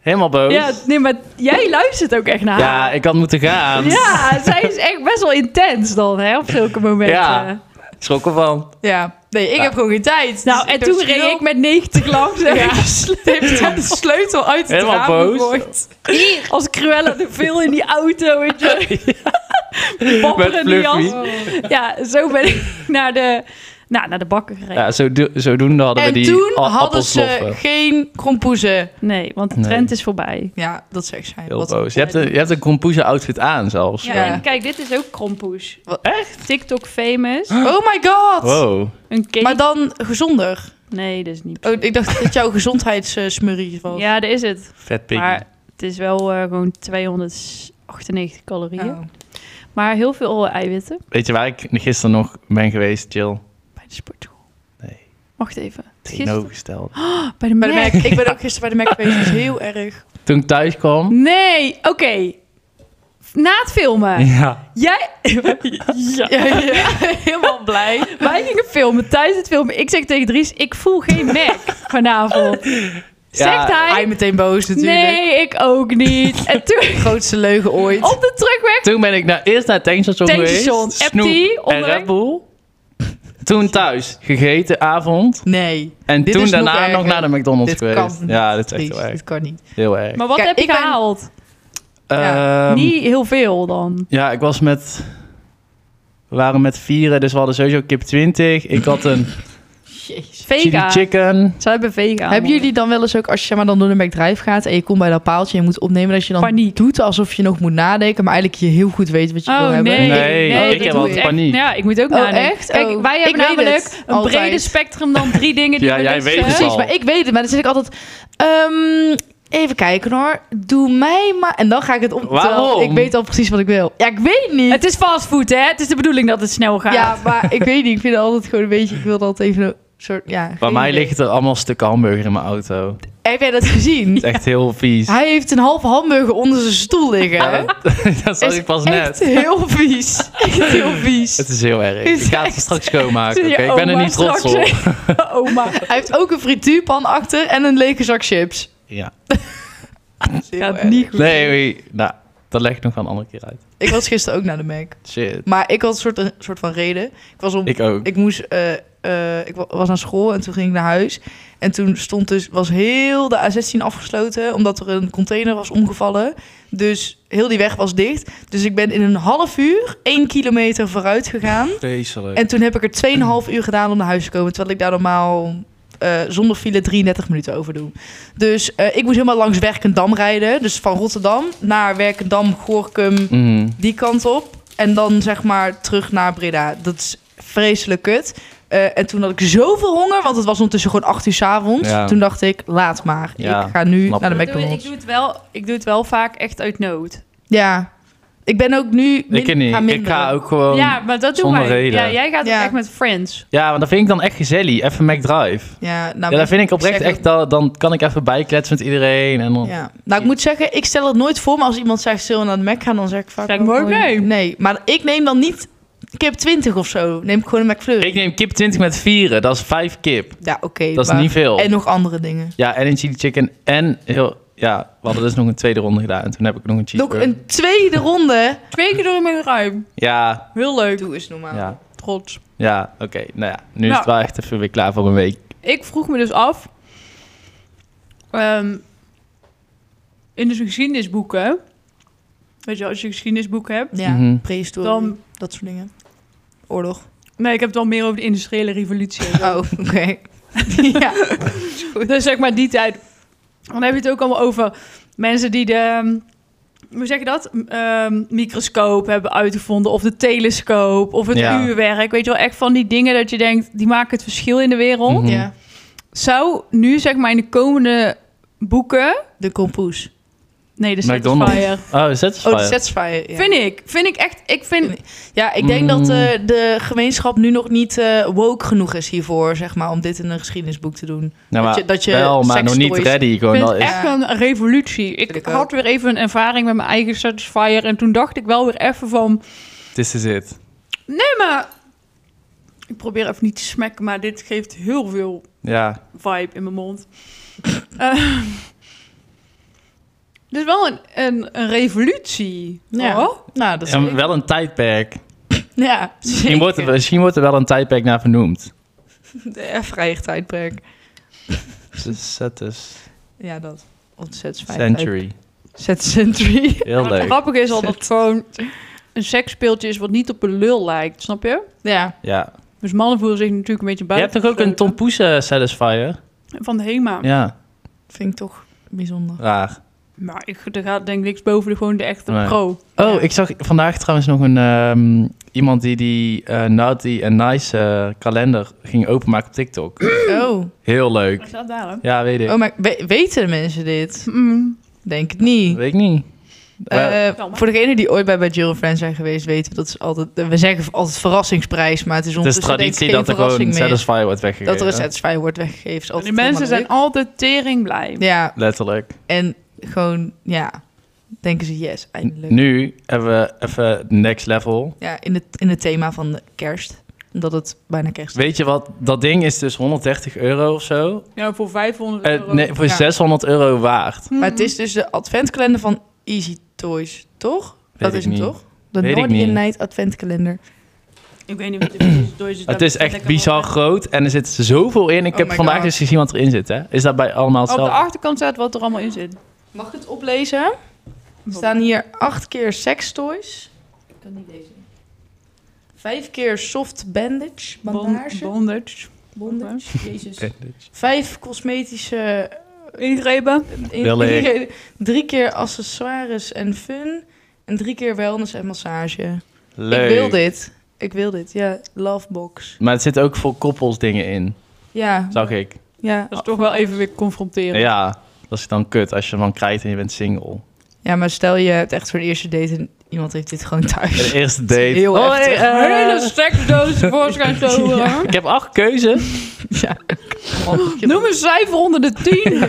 Helemaal boos.
Ja,
Ja,
nee, maar jij luistert ook echt naar haar.
ik had moeten gaan.
Ja, zij is echt best wel intens dan, hè, op zulke momenten.
Ja. Ik schrok ervan.
Ja, nee, ik
Ja.
heb gewoon geen tijd.
Nou,
Dus
en
heb
toen
schil-
reed ik met 90 langs en ik <laughs>
heeft dan de sleutel uit het
Helemaal
raam
boos.
gegooid.
als Cruella de Vil in die auto, weet
<laughs>
je.
Met
Popperende
Fluffy.
jas. Ja, zo ben ik naar de, nou, naar de bakker gereden.
Ja, zodo- zodoende hadden
En
we die
toen
a- eh.
hadden ze
appelsloffen.
geen krompoezen.
Nee, want de
Nee.
trend is voorbij.
Ja, dat zegt zij.
Heel
Wat-
boos. Je hebt een, je hebt een kompoezen outfit aan zelfs.
Ja,
Ja.
en kijk, dit is ook krompoes.
Wat-
Echt? TikTok famous.
Oh my god!
Wow.
Een cake.
Maar dan gezonder.
Nee, dat is niet.
Oh, ik dacht dat jouw <laughs> gezondheidssmurrie was.
Ja, dat is het.
Vet piggy.
Maar het is wel eh, gewoon 298 calorieën.
Oh.
Maar heel veel eh, eiwitten
Weet je waar ik gisteren nog ben geweest, Jill?
bij de sportschool.
Nee.
Wacht even. Gisteren?
Tegenovergesteld.
Bij de
Bij de
merk.
Mac. Ik ben ook gisteren bij de Mac geweest. Dat is heel erg.
Toen ik thuis kwam...
Nee, oké. Na het filmen.
Ja.
Jij... <laughs> <laughs> ja.
Ja, ja, <laughs> helemaal blij.
Wij gingen filmen, tijdens het filmen. Ik zeg tegen Dries, ik voel geen mek
<laughs>
vanavond. Zegt
Hij
hij...
meteen boos natuurlijk.
Nee, Oh. ik ook niet. En toen
<laughs>
Grootste leugen ooit.
op de terugweg...
Toen ben ik naar, eerst naar het tankstation geweest.
Tankstation,
Snoep
Epti,
en
onder.
Red Bull. Toen thuis, gegeten avond.
Nee.
En
Dit
toen
is nog
daarna nog,
erger.
naar de McDonald's
Dit kan
geweest.
niet.
Ja, dat is echt
Dries,
heel erg.
Dit kan niet.
Heel erg.
Maar wat
Kijk,
heb je
ik ben-
gehaald?
ja,
Ehm,
Niet heel veel dan.
Ja, ik was met... We waren met vieren, dus we hadden sowieso kip 20. Ik
<laughs>
had een
Jezus.
Vega.
chili chicken.
Zij hebben vega.
Hebben jullie dan wel eens ook, als je zeg maar, dan door de McDrive gaat en je komt bij dat paaltje en je moet opnemen, dat je dan
Paniek.
doet alsof je nog moet nadenken, maar eigenlijk je heel goed weet wat je wil
Oh nee.
hebben?
Nee, ik
dat
heb
doe
altijd
ik.
paniek.
Ja, ik moet ook
Oh,
nadenken.
echt?
Kijk,
Oh.
wij hebben
Ik weet
namelijk
het.
een
Altijd.
brede spectrum dan drie dingen die
Ja,
we
jij
dus,
weet
eh,
het
Precies,
al.
maar ik weet het, maar dan zit ik altijd. ehm, Even kijken hoor. Doe mij maar. En dan ga ik het om. terwijl
Waarom?
Ik weet al precies wat ik wil. Ja, ik weet niet.
Het is fastfood, hè? Het is de bedoeling dat het snel gaat.
ja, maar ik weet niet. Ik vind het altijd gewoon een beetje. Ik wil dat even een soort. Ja,
Bij
geen
mij
idee.
ligt er allemaal stukken hamburger in mijn auto. Het
Heb jij dat gezien?
is echt heel vies.
Hij heeft een halve hamburger onder zijn stoel liggen.
<laughs> Ja, dat, dat zag
Is
ik pas
Echt
net.
heel vies. Echt heel vies.
Het is heel erg.
Is
Ik ga het
echt-
straks schoonmaken.
Zie je
oké? Ik ben er
oma
niet trots op.
straks, <laughs> Oma.
Hij heeft ook een frituurpan achter en een lege zak chips.
Ja.
Heel
Gaat
erg.
niet goed.
Nee, nee, nou, dat leg ik nog wel een andere keer uit.
Ik was gisteren ook naar de Mac.
Shit.
Maar ik had een soort, een soort van reden. Ik was om
Ik ook.
Ik moest, eh, eh, ik wa- was aan school en toen ging ik naar huis. En toen stond dus, was heel de A16 afgesloten, omdat er een container was omgevallen. Dus heel die weg was dicht. Dus ik ben in een half uur één kilometer vooruit gegaan.
Vreselijk.
En toen heb ik er 2,5 uur gedaan om naar huis te komen. Terwijl ik daar normaal eh, zonder file 33 minuten over doe. Dus eh, ik moest helemaal langs Werkendam rijden. Dus van Rotterdam naar Werkendam, Gorkum,
Mhm.
die kant op. En dan zeg maar terug naar Breda. Dat is vreselijk kut. Eh, en toen had ik zoveel honger, want het was ondertussen gewoon 8 uur 's avonds.
Ja.
Toen dacht ik, laat maar.
Ja,
ik ga nu
snap
naar de
ik.
Ik doe, ik,
McDonald's.
doe het wel, ik doe het wel vaak echt uit nood.
Ja, ik ben ook nu.
Ik
min-
niet.
Ga
ik ga
minderen.
ook gewoon...
ja,
Ja.
maar dat doen
zonder
wij.
reden.
Ja, jij gaat
Ja.
ook echt met friends.
want dat vind ik dan echt gezellig. Even McDrive.
Ja, nou,
Ja, dat vind ik oprecht
zeg-
echt... Dan, dan kan ik even bijkletsen met iedereen. En dan...
Ja. Nou, ik moet zeggen, ik stel het nooit voor, maar als iemand zegt, zullen we naar de Mac gaan, dan zeg ik vaak...
Zeg ik maar ook
gewoon,
nee.
Nee, maar ik neem dan niet kip 20 of zo. Neem ik gewoon een McFlurry.
Ik neem kip 20 met vieren. Dat is 5 kip.
Ja, oké.
Dat is
maar-
niet veel.
En nog andere dingen.
Ja, en een chili chicken. En heel... Ja, we hadden dus nog een tweede ronde gedaan. En toen heb ik nog een
Nog
cheeseburger.
een tweede ronde.
Twee keer door mijn ruim.
Ja,
Heel leuk.
Doe eens normaal.
ja,
Trots.
ja. Oké, nou ja. Nu is
Nou.
het wel echt even weer klaar voor een week.
Ik vroeg me dus af... ehm, in de geschiedenisboeken... Weet je, wel, als je geschiedenisboeken hebt...
Ja,
Mhm.
prehistorie,
Dan-
dat soort dingen. Oorlog.
Nee, ik heb het wel meer over de industriële revolutie.
Oh, <laughs> oké.
<laughs>
ja.
Dus zeg maar die tijd. Dan heb je het ook allemaal over mensen die de... ehm, Hoe zeg je dat? Ehm, microscoop hebben uitgevonden. Of de telescoop. Of het
Ja.
uurwerk. Weet je wel, echt van die dingen dat je denkt... die maken het verschil in de wereld.
Mhm.
ja.
Zou nu zeg maar in de komende boeken...
De kompoes.
Nee, de
McDonald's.
Satisfyer.
Oh, Satisfyer.
Oh, de Satisfyer. Ja.
Vind ik. Vind ik echt... Ik vind...
Ja, ik denk dat
Mm.
eh, de gemeenschap nu nog niet eh, woke genoeg is hiervoor, zeg maar, om dit in een geschiedenisboek te doen.
Nou, maar
dat je- dat je
wel, maar nog
sekstoys-
niet ready.
Ik
Gewoon,
vind
dat
het
is,
echt een revolutie. Ik,
Vind ik ook.
had weer even een ervaring met mijn eigen Satisfyer. En toen dacht ik wel weer even van...
This is it.
Nee, maar... Ik probeer even niet te smekken, maar dit geeft heel veel
Ja.
vibe in mijn
<laughs>
mond. Eh, dus wel een, een, een revolutie.
Ja.
hoor.
Nou, dat is
En wel een tijdperk. <laughs>
Ja,
Misschien wordt, er, misschien wordt er wel een tijdperk naar vernoemd.
De vrije tijdperk.
Satis
Ja, dat. Ontzettend fijn.
Century.
Set century. <laughs>
Heel
Maar het
leuk.
grappige is al dat het gewoon een seksspeeltje is wat niet op een lul lijkt, snap je?
Ja.
Ja.
Dus mannen voelen zich natuurlijk een beetje
Je hebt
buiten.
toch ook een Tom Poes eh, Satisfyer?
Van de HEMA.
Ja.
Vind ik toch bijzonder.
Raar.
Maar ik, er gaat denk ik niks boven de, gewoon de echte
Nee.
pro.
Oh, ik zag vandaag trouwens nog een ehm, iemand die die eh, Naughty en Nice eh, kalender ging openmaken op TikTok.
Oh.
Heel leuk.
Wat staat daar, hè?
Ja, weet ik.
oh maar we- weten mensen dit?
Mm.
Denk het niet.
Weet ik niet. Eh,
Eh,
Wel, maar-
voor degenen die ooit bij Bad Jill Friends zijn geweest, weten we dat is altijd. We zeggen altijd verrassingsprijs, maar het is
het is
ondertussen
traditie
denk ik
dat er
geen
gewoon
verrassing meer.
Satisfyer wordt weggegeven.
Dat er een satisfyer wordt weggegeven. is
Die
altijd
mensen zijn
helemaal
altijd tering blij.
leuk. Ja,
Letterlijk.
en gewoon, ja. Denken ze yes, eindelijk.
Nu hebben we even next level.
Ja, in het, in het thema van de kerst. Omdat het bijna kerst is.
Weet je wat? Dat ding is dus 130 euro of zo.
Ja, voor 500
Eh,
euro.
nee, voor
Ja.
600 euro waard.
Mm.
Maar het is dus de adventkalender van Easy Toys, toch? dat
ik
is hem
niet.
toch? De
Weet ik
Nordian
niet.
Night adventkalender.
Ik weet niet wat het is. Door je-
Het is echt bizar groot en er zit zoveel in. Ik
Oh
heb
my
vandaag
God. Oh,
dus gezien wat erin zit. Hè? Is dat bij allemaal
Op de
hetzelfde?
achterkant staat wat er allemaal in zit.
Mag ik het oplezen? Er staan hier acht keer sextoys. Ik kan niet lezen. Vijf keer soft bandage, bandage.
Bondage.
bondage. Jezus.
Bandage.
Vijf cosmetische
Ingrepen.
in-
Wil ik.
ingrepen. <laughs> Drie keer accessoires en fun. En drie keer wellness en massage.
Leuk.
Ik wil dit. Ik wil dit, ja. Lovebox.
Maar het zit ook voor koppels dingen in,
Ja,
zag ik.
ja.
Dat is toch wel even weer confronteren.
Ja, Dat is dan kut als je hem dan krijgt en je bent single.
Ja, maar stel je hebt echt voor de eerste date en iemand heeft dit gewoon
En
thuis.
de eerste
<laughs>
date.
Heel
Oh,
heftig.
hey, eh,
Hele seksdoos <laughs> voorschijn komen.
Ja.
ik heb acht keuzes.
Ja,
Noem een cijfer onder de <laughs> tien.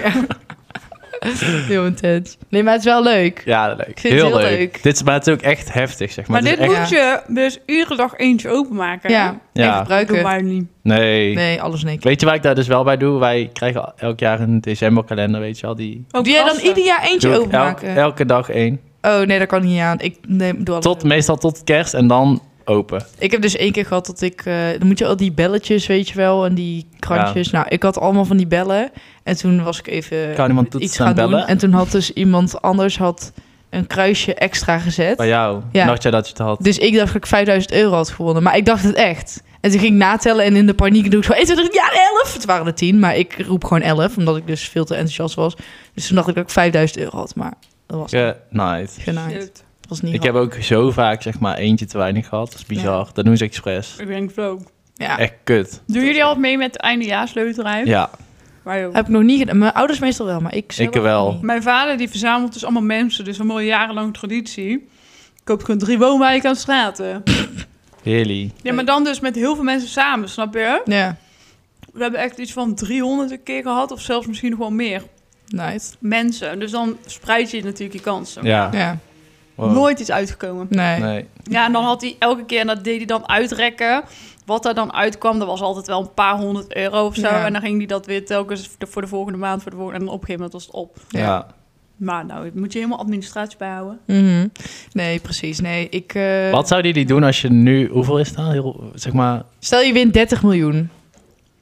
heel intens. Nee, maar het is wel leuk.
Ja, leuk.
vind het
Heel,
heel
leuk.
leuk.
Dit is, maar het is ook echt heftig, zeg maar.
Maar
Het is
dit
echt,
moet je dus iedere dag eentje openmaken.
Ja,
Ja.
en
Dat doen
gebruiken.
wij niet.
nee.
Nee, alles niks.
Weet je waar ik daar dus wel bij doe? Wij krijgen elk jaar een decemberkalender, weet je wel. Die
Ook
Doe jij dan
kasten.
ieder jaar eentje
doe ik
openmaken?
elk- elke dag één.
Oh nee, dat kan niet aan. Ik neem, doe alles
Tot, meestal tot kerst en dan open.
Ik heb dus één keer gehad dat ik... eh, dan moet je al die belletjes, weet je wel, en die krantjes. Nou, ik had allemaal van die bellen. En toen was ik even
Kan iemand toetsen
iets
en
gaan doen.
bellen?
En toen had dus iemand anders had een kruisje extra gezet.
Bij jou.
Ja.
Dacht jij dat je het had?
Dus ik dacht dat ik 5000 euro had gewonnen. Maar ik dacht het echt. En toen ging ik natellen en in de paniek doe ik zo... 1, 2, 3, ja, 11! Het waren er 10, maar ik roep gewoon 11. Omdat ik dus veel te enthousiast was. Dus toen dacht ik dat ik 5000 euro had. Maar dat was
Ja, nice.
genaaid.
Shit.
Dat was niet
Ik
handig.
heb ook zo vaak zeg maar eentje te weinig gehad. Dat is bizar. Dat doen ze expres.
Ik denk het ook.
Ja.
Echt kut.
Doen jullie al mee met de eindejaarsloterij?
Ja.
Wij ook.
Heb ik nog niet gedaan. Mijn ouders meestal wel, maar ik zelf
Ik wel.
niet.
Mijn vader die verzamelt dus allemaal mensen, dus een mooie jarenlang traditie. Koopt gewoon drie woonwijken aan straten.
Really.
Ja, maar dan dus met heel veel mensen samen, snap je?
Ja,
We hebben echt iets van 300 een keer gehad, of zelfs misschien nog wel meer
nice.
mensen. Dus dan spreid je natuurlijk je kansen.
Ja.
Ja,
Wow.
Nooit iets uitgekomen.
nee.
Nee.
Ja, en dan had hij elke keer, en dat deed hij dan uitrekken. Wat er dan uitkwam, dat was altijd wel een paar honderd euro of zo.
Ja.
En dan ging hij dat weer telkens voor de volgende maand, voor de volgende. En dan op een gegeven moment was het op.
Ja.
Ja.
Maar nou, moet je helemaal administratie bijhouden.
Mhm. Nee, precies. Nee, ik... eh,
Wat zouden jullie doen als je nu... Hoeveel is het nou? Heel, zeg maar...
Stel je wint 30 miljoen.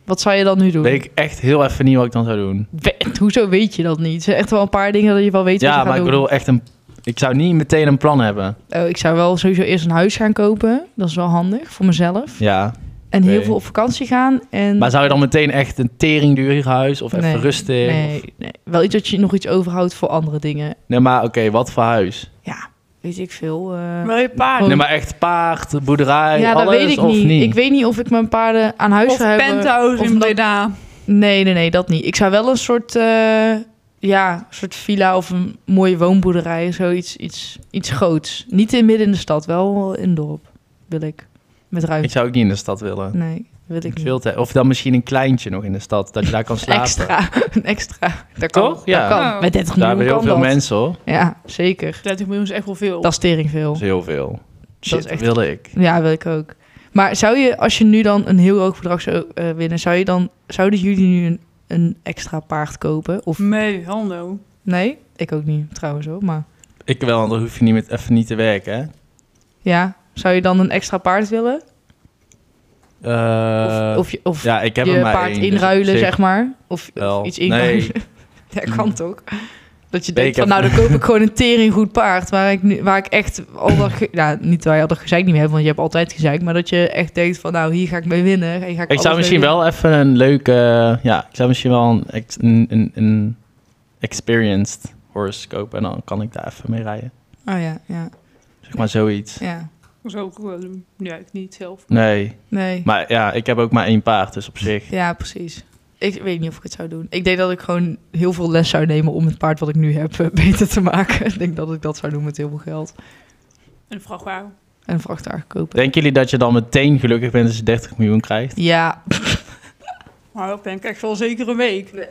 Wat zou je dan nu doen?
Weet ik echt heel even niet wat ik dan zou doen.
We- Hoezo weet je dat niet? Er zijn echt wel een paar dingen dat je wel weet wat
ja,
je
maar
gaat
ik
doen.
bedoel echt een... Ik zou niet meteen een plan hebben.
Oh, ik zou wel sowieso eerst een huis gaan kopen. Dat is wel handig voor mezelf.
Ja.
En heel
Oké.
veel op vakantie gaan. En
Maar zou je dan meteen echt een teringduur huis of even
Nee,
rustig?
nee, nee, wel iets dat je nog iets overhoudt voor andere dingen.
Nee, maar oké, wat voor huis?
Ja, weet ik veel. eh.
Wel je paard.
Oh.
Nee, maar echt paard, boerderij,
ja, dat
alles
weet ik
of
niet.
niet?
Ik weet niet of ik mijn paarden aan huis
Of
zou hebben.
penthouse
of
in
dat-
Breda.
Nee, nee, nee, dat niet. Ik zou wel een soort, eh, ja, soort villa of een mooie woonboerderij, zoiets, iets, iets groots. Niet in midden in de stad, wel in het dorp, wil ik. Met
Ik
ruimte.
zou ook niet in de stad willen.
Nee, wil ik
Ik
niet.
wil het- of dan misschien een kleintje nog in de stad, dat je daar kan slapen.
Extra, <laughs> een extra. Dat kan.
Toch? Ja. Oh.
Dat kan.
Ja.
Met 30
Daar
miljoen
hebben heel
kan
veel
dat.
mensen hoor.
Ja, zeker.
30 miljoen is echt wel veel.
Dat is tering
Dat
veel.
is heel veel. Shit, dat
is echt-
wilde ik.
Ja, wil ik ook. Maar zou je, als je nu dan een heel hoog bedrag zou eh, winnen, zou je dan, zouden jullie nu een, een extra paard kopen? Of
Nee, hallo.
nee? Ik ook niet, trouwens hoor. Maar
Ik wel, want dan hoef je niet met, even niet te werken. Hè?
ja, zou je dan een extra paard willen?
Eh,
of, of, je- of
ja, ik heb
je
er maar
paard
één, dus
inruilen,
op zich
zeg maar. Of, of
wel.
iets inruilen. <laughs>
Nee, Hmm.
Dat kan toch? Dat je
Nee,
denkt
ik
van, nou,
heb-
dan koop ik gewoon een tering goed paard... waar ik, nu, waar ik echt al dat... ge- ja, niet waar je al dat gezeik niet meer hebt, want je hebt altijd gezeik... maar dat je echt denkt van, nou, hier ga ik mee winnen. Hier ga ik
ik zou
alles
misschien
mee
wel even een leuke... ja, ik zou misschien wel een, ex- een, een, een experienced horse kopen. En dan kan ik daar even mee rijden.
winnen. Oh ja, ja,
Zeg maar zoiets.
ja.
Zo, eh, ja, ik niet zelf.
Nee,
Nee,
maar ja, ik heb ook maar één paard, dus op zich...
ja, precies. Ik weet niet of ik het zou doen. Ik denk dat ik gewoon heel veel les zou nemen... om het paard wat ik nu heb eh, <laughs> beter te maken. ik denk dat ik dat zou doen met heel veel geld.
Een vrachtwagen.
En een vrachtwagen kopen.
Denken jullie dat je dan meteen gelukkig bent als je 30 miljoen krijgt?
Ja, <laughs>
Maar dat ben ik echt wel zeker een week.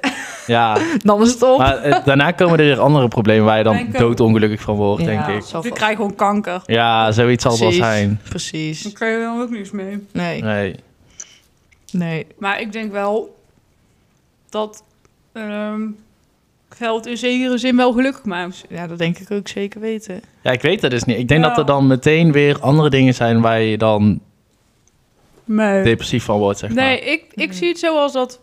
Ja,
<laughs> dan is het op.
maar eh, daarna komen er weer andere problemen waar je dan
Denken-
doodongelukkig van wordt,
Ja,
denk ik.
zal
Ik
vast-
krijg gewoon kanker.
Ja, zoiets zal het wel
Precies.
zijn.
Precies.
Dan kun je dan ook niks mee.
Nee,
Nee.
nee.
Maar ik denk wel dat ehm, geld in zekere zin wel gelukkig maakt.
Ja, dat denk ik ook zeker weten.
Ja, ik weet dat dus niet. Ik denk
Ja.
Nou.
dat er dan meteen weer andere dingen zijn waar je dan
Eh.
Nee.
depressief van wordt, zeg maar.
Nee, ik, ik zie het zo als dat...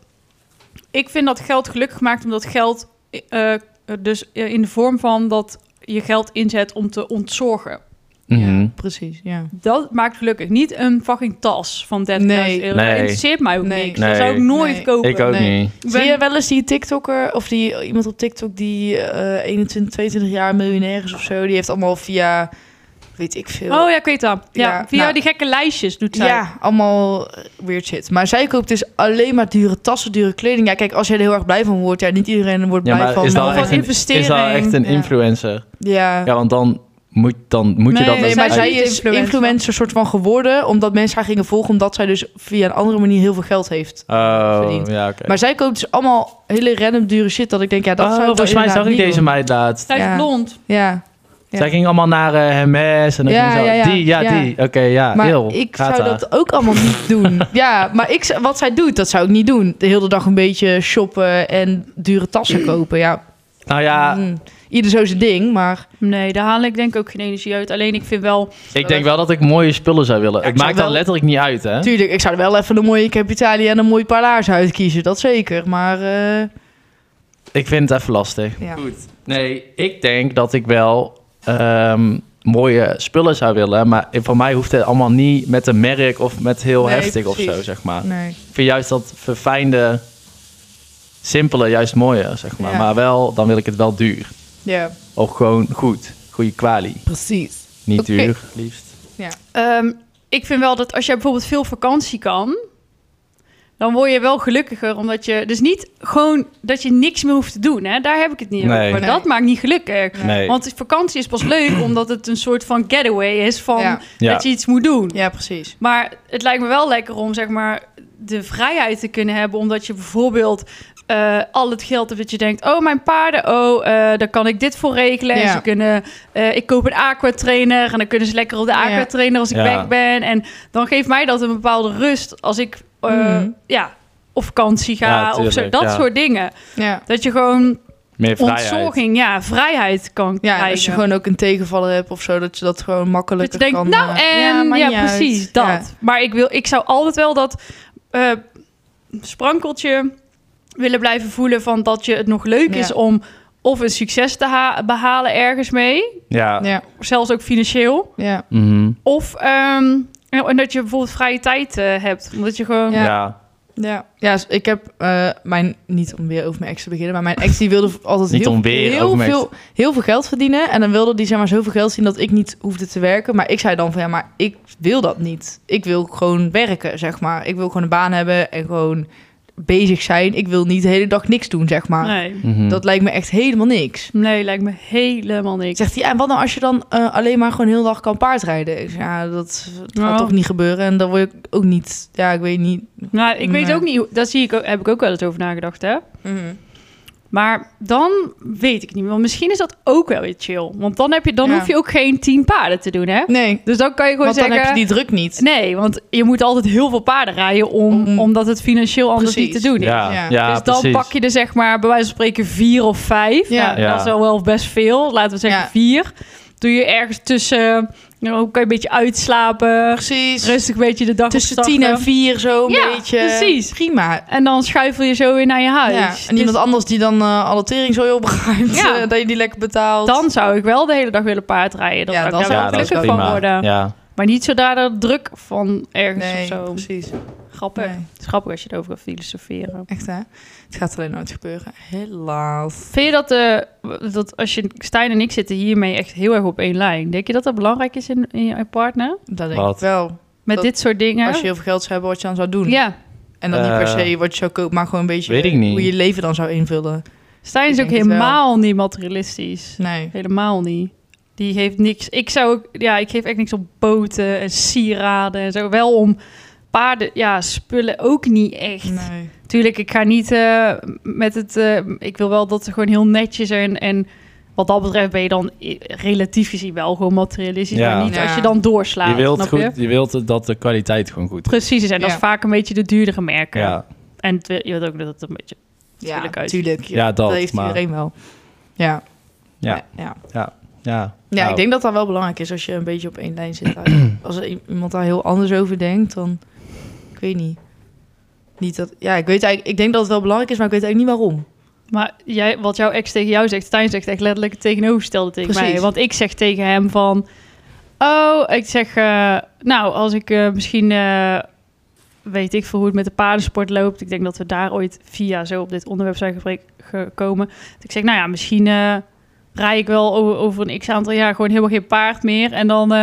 Ik vind dat geld gelukkig maakt omdat geld... eh, eh, dus eh, in de vorm van dat je geld inzet om te ontzorgen.
Mhm.
Ja, precies, ja.
Dat maakt gelukkig niet een fucking tas van 30.000
Nee.
euro.
Nee.
Dat interesseert mij ook
Nee.
niks.
Nee.
Dat zou ik nooit
Nee.
kopen.
Ik ook
Nee.
niet.
Ik ben-
Zie je wel eens die TikToker, of die, iemand op TikTok die eh 21, 22 jaar miljonair is of zo, die heeft allemaal via weet ik veel.
Oh ja, ik weet dat. Ja,
Ja,
via
nou-
die gekke lijstjes doet zij.
Ja, allemaal weird shit. Maar zij koopt dus alleen maar dure tassen, dure kleding. Ja, kijk, als jij er heel erg blij van wordt, ja, niet iedereen wordt
Ja,
blij
maar
van.
is
wel
dat,
van
echt een, is dat
investering.
echt een
Ja.
influencer?
eh, Ja.
Ja, want dan moet, dan moet je
Nee,
dat...
Nee,
dus
maar
zij
zij
is
is
influencer.
influencer. soort van geworden, omdat mensen haar gingen volgen, omdat zij dus via een andere manier heel veel geld heeft.
Oh,
verdient.
ja, oké.
Maar zij koopt dus allemaal hele random dure shit, dat ik denk, ja, dat
Oh,
zou ik wel
volgens mij zag ik
inderdaad
deze
niet
meid laatst.
Zij is
Ja.
blond.
doen. Ja, Ja.
Zij ging allemaal naar eh Hermes en dan
Ja,
ging zo...
ja, ja,
die, ja,
ja.
die. Oké, ja,
maar
Ah, heel.
ik
Gaat
zou
haar.
dat ook allemaal
<laughs>
niet doen. Ja, maar ik, z- wat zij doet, dat zou ik niet doen. De hele dag een beetje shoppen en dure
<clears throat>
tassen kopen, ja.
Nou ja,
mm, Ieder zo zijn ding, maar...
Nee, daar haal ik denk ik ook geen energie uit. Alleen ik vind wel...
ik denk wel dat ik mooie spullen zou willen.
Ja, ik
het
zou
maakt dan
wel-
letterlijk niet uit, hè?
Tuurlijk, ik zou er wel even een mooie Capitalia en een mooi paar laarzen uitkiezen, dat zeker. Maar eh,
Ik vind het even lastig.
ja.
Nee, ik denk dat ik wel ehm, mooie spullen zou willen. Maar voor mij hoeft het allemaal niet met een merk of met heel
Nee,
heftig of
precies.
zo, zeg maar.
nee.
Ik vind juist dat verfijnde, simpele juist mooier, zeg maar.
Ja.
Maar wel, dan wil ik het wel duur.
Ja,
Of gewoon goed. Goede kwalie.
precies.
Niet
Oké.
duur, liefst.
ehm, ik vind wel dat als jij bijvoorbeeld veel vakantie kan... Dan word je wel gelukkiger, omdat je... Dus niet gewoon dat je niks meer hoeft te doen, hè. Daar heb ik het niet
Nee.
over.
Nee.
Dat maakt niet gelukkig.
Nee.
Want vakantie is pas leuk, omdat het een soort van getaway is van
Ja.
Ja.
dat je iets moet doen.
Ja, precies.
Maar het lijkt me wel lekker om zeg maar de vrijheid te kunnen hebben, omdat je bijvoorbeeld eh, al het geld hebt dat je denkt, oh mijn paarden, oh eh, daar kan ik dit voor regelen. En
Ja.
ze kunnen, eh, ik koop een aquatrainer en dan kunnen ze lekker op de
Ja.
aquatrainer als ik
Ja.
weg ben. En dan geeft mij dat een bepaalde rust als ik eh,
Mhm.
ja op vakantie ga
Ja,
of zo,
tuurlijk,
dat
ja.
soort dingen.
Ja.
Dat je gewoon
Meer vrijheid.
ontzorging, ja, vrijheid kan
Ja, en
krijgen.
als je gewoon ook een tegenvaller hebt of zo, dat je dat gewoon
Dat
makkelijker
je denkt,
kan...
nou
eh,
en
maakt
ja,
niet uit.
precies dat.
Ja.
Maar ik, wil, ik zou altijd wel dat eh, sprankeltje willen blijven voelen van dat je het nog leuk
Ja.
is om of een succes te ha- behalen ergens mee,
Ja.
Ja,
zelfs ook financieel,
ja.
Mhm.
of ehm, en en dat je bijvoorbeeld vrije tijd eh, hebt, omdat je gewoon
Ja.
ja.
Ja, ja dus ik heb eh, mijn, niet om weer over mijn ex te beginnen, maar mijn ex die wilde altijd
Niet
heel,
om weer
heel,
over mijn ex.
veel, heel veel geld verdienen. En dan wilde die zeg maar zoveel geld zien dat ik niet hoefde te werken. Maar ik zei dan van ja, maar ik wil dat niet. Ik wil gewoon werken, zeg maar. Ik wil gewoon een baan hebben en gewoon bezig zijn. Ik wil niet de hele dag niks doen, zeg maar.
nee,
Mhm.
Dat lijkt me echt helemaal niks.
nee, lijkt me helemaal niks.
Zegt hij, ja, en wat nou als je dan eh, alleen maar gewoon heel de dag kan paardrijden? Ik zeg, ja, dat, dat
Nou.
gaat toch niet gebeuren. En dan word ik ook niet, ja, ik weet niet.
Nou, ik weet
Nee.
ook niet, hoe- daar zie ik, ook- heb ik ook wel eens over nagedacht, hè. Maar dan weet ik niet. Want misschien is dat ook wel weer chill. Want dan, heb je, dan
Ja.
hoef je ook geen tien paarden te doen, hè?
Nee,
Dus dan kan je gewoon
want dan
zeggen...
heb je die druk niet.
Nee, want je moet altijd heel veel paarden rijden... Om,
Om-
omdat het financieel anders
Precies.
niet te doen is.
Ja, ja.
Ja.
dus dan
precies.
pak je er zeg maar, bij wijze van spreken, vier of vijf.
Ja.
Nou,
Ja.
Dat is wel wel best veel. Laten we zeggen
Ja.
vier. Doe je ergens tussen... Nou, kan je een beetje uitslapen.
Precies.
Rustig een beetje de dag
Tussen
opstarten.
tien en vier zo een
Ja,
beetje.
precies.
Prima.
En dan schuifel je zo weer naar je huis.
Ja, en iemand
Dus
anders die dan eh alle tering zo opruimt,
Ja.
eh, dat je die lekker betaalt.
dan zou ik wel de hele dag willen paardrijden. Dan
Ja,
zou
dan
ik daar
zou
wel
het
gelukkig
prima.
van worden.
Ja.
Maar niet zodra er druk van ergens
nee,
of zo.
precies.
Grappig.
Nee.
Het is grappig als je erover gaat filosoferen.
Echt hè? Het gaat alleen nooit gebeuren. Helaas.
Vind je dat, eh, dat als je Stijn en ik zitten hiermee echt heel erg op één lijn? Denk je dat dat belangrijk is in, in je partner?
Dat denk
Wat?
ik wel.
Met
Dat-
dit soort dingen?
Als je heel veel geld zou hebben, wat je dan zou doen.
Ja.
En dan niet per
Eh,
se wat je zou kopen, maar gewoon een beetje
weet ik niet.
hoe je leven dan zou invullen.
Stijn is
Ik
ook
denk het wel.
helemaal niet materialistisch.
Nee.
Helemaal niet. Die geeft niks. Ik zou ook, ja, ik geef echt niks op boten en sieraden en zo. Wel om paarden, ja, spullen ook niet echt.
Nee.
Tuurlijk, ik ga niet eh, met het. eh, ik wil wel dat ze gewoon heel netjes zijn. En wat dat betreft ben je dan i- relatief gezien wel gewoon materialistisch.
Ja.
Maar niet
Ja.
als je dan doorslaat.
Je wilt,
snap
goed,
je?
je wilt dat de kwaliteit gewoon goed is.
Precies, en dat is
Ja.
vaak een beetje de duurdere merken.
Ja,
En het- je wilt ook dat het een beetje.
Ja,
Tuurlijk uit.
tuurlijk.
Ja, dat,
heeft
maar-
iedereen wel. Ja.
Ja.
ja.
ja.
Ja,
Nou,
ik denk dat dat wel belangrijk is als je een beetje op één lijn
<clears throat>
zit. als er i- iemand daar heel anders over denkt, dan ik weet niet. Niet dat, ja, ik weet eigenlijk, ik denk dat het wel belangrijk is, maar ik weet eigenlijk niet waarom.
Maar jij, wat jouw ex tegen jou zegt, Stijn zegt echt letterlijk het tegenovergestelde tegen
Precies.
mij. Want ik zeg tegen hem van... Oh, ik zeg... eh, nou, als ik eh, misschien... eh, weet ik veel hoe het met de paardensport loopt. Ik denk Dus dat we daar ooit via zo op dit onderwerp zijn gepre- gekomen. Dat ik zeg, nou ja, misschien... eh, rij ik wel o- over een x aantal jaar gewoon helemaal geen paard meer. En dan, eh,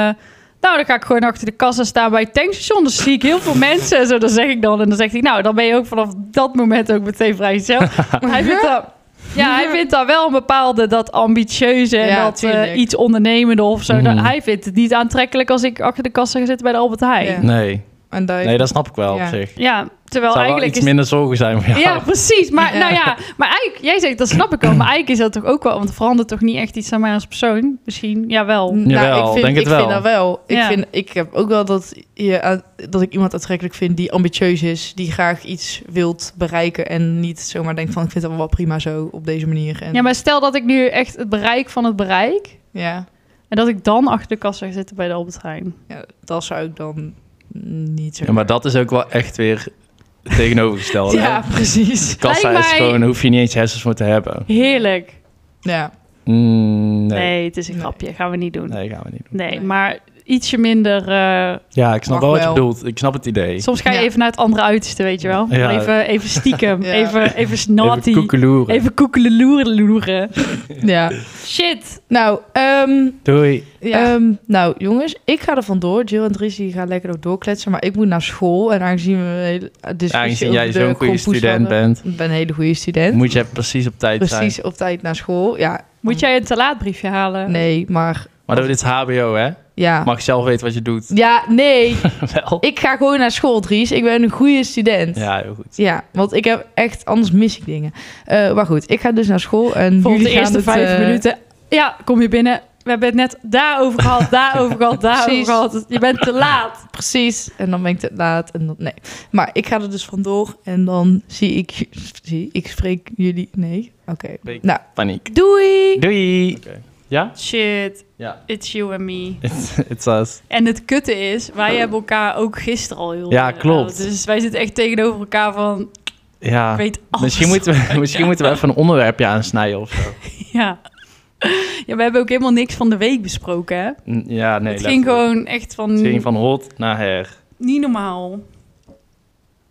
nou, dan ga ik gewoon achter de kassa staan bij het tankstation. Dan zie ik heel veel mensen en zo. Dat zeg ik dan. En dan zegt hij, nou, dan ben je ook vanaf dat moment ook meteen vrijgezel. Maar hij vindt dat... Ja, hij vindt daar wel een bepaalde dat ambitieuze en
Ja,
dat eh,
tuurlijk.
iets ondernemende of zo.
Mhm.
Dat- hij vindt het niet aantrekkelijk als ik achter de kassa ga zitten bij de Albert Heijn.
Ja.
Ja,
Nee,
En daar
nee, dat snap ik wel
Ja.
op zich.
terwijl
Het zou wel
eigenlijk
iets
is
minder zorgen zijn voor jou.
ja, precies. Maar
Ja.
nou ja, maar eigenlijk, jij zegt dat snap ik wel. Maar eigenlijk is dat toch ook wel, want er verandert toch niet echt iets aan mij als persoon? Misschien, ja wel.
Nou,
Jawel,
ik vind,
denk
ik
het wel.
vind dat wel. Ik,
Ja.
vind, ik heb ook wel dat, je, aan- dat ik iemand aantrekkelijk vind die ambitieus is, die graag iets wilt bereiken en niet zomaar denkt van ik vind het wel prima zo op deze manier. En,
Ja, maar stel dat ik nu echt het bereik van het bereik
ja,
en dat ik dan achter de kassa ga zitten bij de Albert Heijn.
ja, dat zou ik dan niet zo.
Ja, maar dat is ook wel echt weer het tegenovergestelde. hè?
Ja, precies.
Kassa
Lijkt
is
mij
gewoon, daar hoef je niet eens hersens voor te hebben.
heerlijk.
Ja,
Mm,
Nee.
nee.
het is een
Nee.
grapje. Gaan we niet doen. Nee,
nee, gaan we niet doen.
Nee.
maar ietsje minder. eh,
Ja, ik snap
Mag
wel wat je
wel.
bedoelt. Ik snap het idee.
soms ga je
Ja.
even naar het andere uiterste, weet je wel.
Ja.
Even, even
<laughs>
stiekem.
Ja.
Even, even snotty.
Even koekeloeren.
Even koekeloeren.
ja.
Shit.
Nou, ehm,
Doei.
Ja.
Ehm, nou, jongens, ik ga er vandoor. Jill en Dries die gaan lekker ook doorkletsen. Maar ik moet naar school. En aangezien we een hele
Dus
discussie
Aangezien
over
jij
de
zo'n goede
kompoes
student
hadden-
bent,
Ik ben een hele goede student.
moet je precies op tijd zijn.
Precies op tijd naar school. Ja,
Moet jij een te laat briefje halen?
nee, maar
Maar dat, dit is HBO, hè?
ja.
Mag je zelf weten wat je
<laughs>
doet.
Ja,
<laughs>
nee.
wel.
Ik ga gewoon naar school, Dries. Ik ben een goede student. Ja.
Ja, heel goed.
want ik heb echt, anders mis ik dingen. Eh, maar goed, ik ga dus naar school en
Voor
jullie
de
gaan
eerste
het,
vijf
eh,
minuten. Ja, kom je binnen. We hebben het net
<laughs>
daarover gehad, daarover gehad, daarover
Precies.
gehad. Dus Je bent te laat.
Precies. En dan ben ik te laat en dan nee. Maar ik ga er dus vandoor en dan zie ik, j- zie ik spreek jullie. Nee, oké.
Ik-
Nou,
Paniek.
doei.
Doei. Ja?
Shit,
Ja.
it's you and me.
It's, it's us.
En het kutte is, wij hebben elkaar ook gisteren al heel...
Ja,
eh,
klopt.
Dus wij zitten echt tegenover elkaar van, ik
Ja.
weet alles.
Misschien moeten, we, misschien moeten we even een onderwerpje aansnijden of zo.
<laughs> Ja. ja, we hebben ook helemaal niks van de week besproken, hè?
Mm, Ja, nee.
het
letterlijk.
ging gewoon echt van,
Het ging van hot naar her.
niet normaal.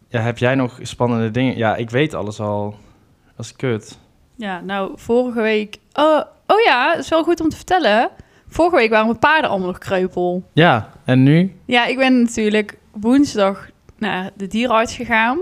Ja, heb jij nog spannende dingen? Ja, ik weet alles al. Dat is kut.
Ja, nou, vorige week... Oh, oh ja, is wel goed om te vertellen. Vorige week waren mijn paarden allemaal nog kreupel.
Ja, en nu?
Ja, ik ben natuurlijk woensdag naar de dierenarts gegaan.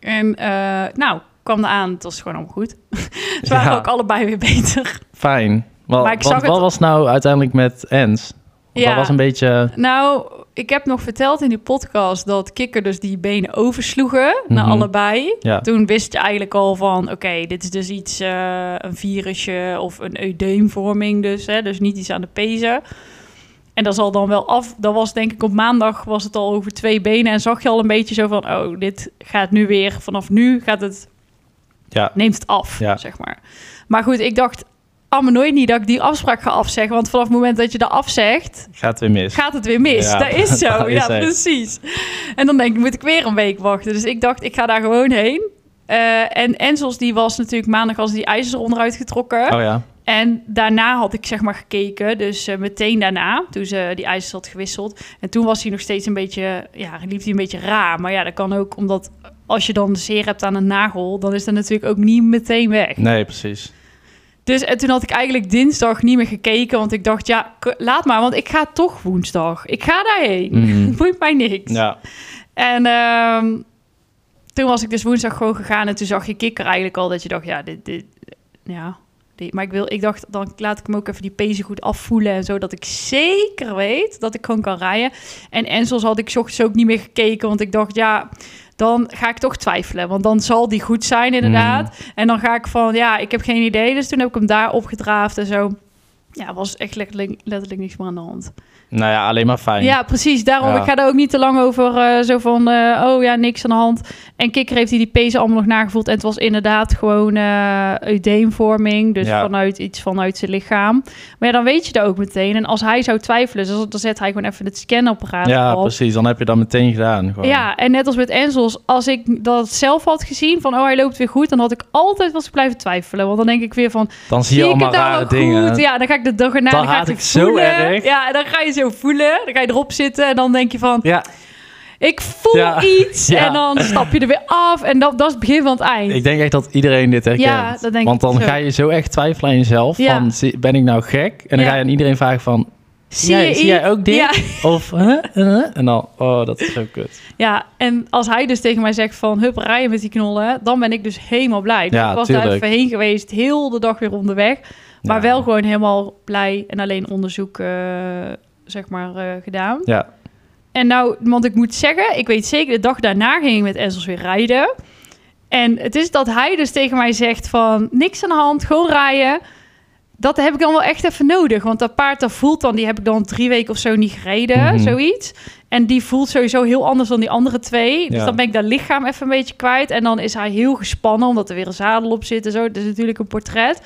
En eh, nou, kwam er aan, het was gewoon allemaal goed. <laughs> Ze waren
Ja.
ook allebei weer beter.
Fijn. Wel,
Maar ik
want
zag
wat
het-
was nou uiteindelijk met Ens? Want
Ja.
Dat was een beetje...
Nou, ik heb nog verteld in die podcast dat kikker dus die benen oversloegen naar
Mhm.
allebei.
Ja.
Toen wist je eigenlijk al van, oké, dit is dus iets, eh, een virusje of een eudeemvorming dus. Hè, dus niet iets aan de pezen. En dat zal dan wel af. Dat was denk ik op maandag was het al over twee benen. En zag je al een beetje zo van, oh, dit gaat nu weer, vanaf nu gaat het,
Ja.
neemt het af,
Ja.
zeg maar. Maar goed, ik dacht, ah, maar nooit niet dat ik die afspraak ga afzeggen. Want vanaf het moment dat je dat afzegt,
Gaat weer mis.
gaat het weer mis.
Ja,
dat is zo.
<laughs> dat is
ja,
echt.
precies. En dan denk ik, moet ik weer een week wachten. Dus ik dacht, ik ga daar gewoon heen. Eh, en Enzels, die was natuurlijk maandag als die ijzer onderuit getrokken.
Oh ja.
En daarna had ik zeg maar gekeken. Dus eh, meteen daarna, toen ze die ijzers had gewisseld. En toen was hij nog steeds een beetje, ja, liep hij een beetje raar. Maar ja, dat kan ook omdat als je dan zeer hebt aan een nagel, dan is dat natuurlijk ook niet meteen weg.
Nee, precies.
Dus en toen had ik eigenlijk dinsdag niet meer gekeken, want ik dacht, ja, k- laat maar, want ik ga toch woensdag. Ik ga daarheen. <laughs>
Mm.
Boeit mij niks.
Ja.
En ehm, toen was ik dus woensdag gewoon gegaan en toen zag je kikker eigenlijk al dat je dacht, ja, dit, dit ja. Die, maar ik, wil, ik dacht, dan laat ik hem ook even die pezen goed afvoelen en zo, dat ik zeker weet dat ik gewoon kan rijden. En Enzels had ik 's ochtends ook niet meer gekeken, want ik dacht, ja, dan ga ik toch twijfelen, want dan zal die goed zijn inderdaad. En dan ga ik van, ja, ik heb geen idee, dus toen heb ik hem daar opgedraafd en zo. Ja, was echt letterlijk, letterlijk niks meer aan de hand.
Nou ja, alleen maar fijn.
Ja, precies. Daarom,
Ja.
ik ga er ook niet te lang over eh, zo van, eh, oh ja, niks aan de hand. En Kikker heeft hij die pezen allemaal nog nagevoeld. En het was inderdaad gewoon eh eudeemvorming. Dus
Ja.
vanuit iets vanuit zijn lichaam. Maar ja, dan weet je dat ook meteen. En als hij zou twijfelen, dus dan zet hij gewoon even het scanapparaat
Ja,
op.
precies. Dan heb je dat meteen gedaan. Gewoon.
Ja, en net als met Enzels, als ik dat zelf had gezien van, oh hij loopt weer goed, dan had ik altijd was ik blijven twijfelen. Want dan denk ik weer van,
Dan zie je
ik het
allemaal
nou
rare
wel
dingen.
Goed? Ja, dan ga ik de dag erna.
Dat
dan ga
haat
het
ik zo
voelen.
erg.
Ja, en dan ga je zo voelen. Dan ga je erop zitten en dan denk je van...
Ja.
Ik voel
Ja.
iets
Ja.
en dan stap je er weer af. En dat, dat is het begin van het eind.
Ik denk echt dat iedereen dit herkent.
Ja, dat denk
Want
ik
dan
ook.
ga je zo echt twijfelen aan jezelf.
Ja.
Van, zie- ben ik nou gek? En dan
Ja.
ga je aan iedereen vragen van,
Zie je
jij, zie
iets?
jij ook dit?
Ja.
Of, huh? Huh? En dan, oh, dat is zo kut.
Ja, en als hij dus tegen mij zegt van... hup, rijden met die knollen, dan ben ik dus helemaal blij. Dus
Ja,
ik was daar
tuurlijk.
even heen geweest, heel de dag weer onderweg. Maar
Ja.
wel gewoon helemaal blij en alleen onderzoek, eh, zeg maar, eh, gedaan.
Ja,
En nou, want ik moet zeggen, ik weet zeker, de dag daarna ging ik met Essels weer rijden. En het is dat hij dus tegen mij zegt van, niks aan de hand, gewoon rijden. Dat heb ik dan wel echt even nodig. Want dat paard dat voelt dan, die heb ik dan drie weken of zo niet gereden,
Mhm.
zoiets. En die voelt sowieso heel anders dan die andere twee. Dus
Ja.
dan ben ik dat lichaam even een beetje kwijt. En dan is hij heel gespannen, omdat er weer een zadel op zit en zo. Het is natuurlijk een portret.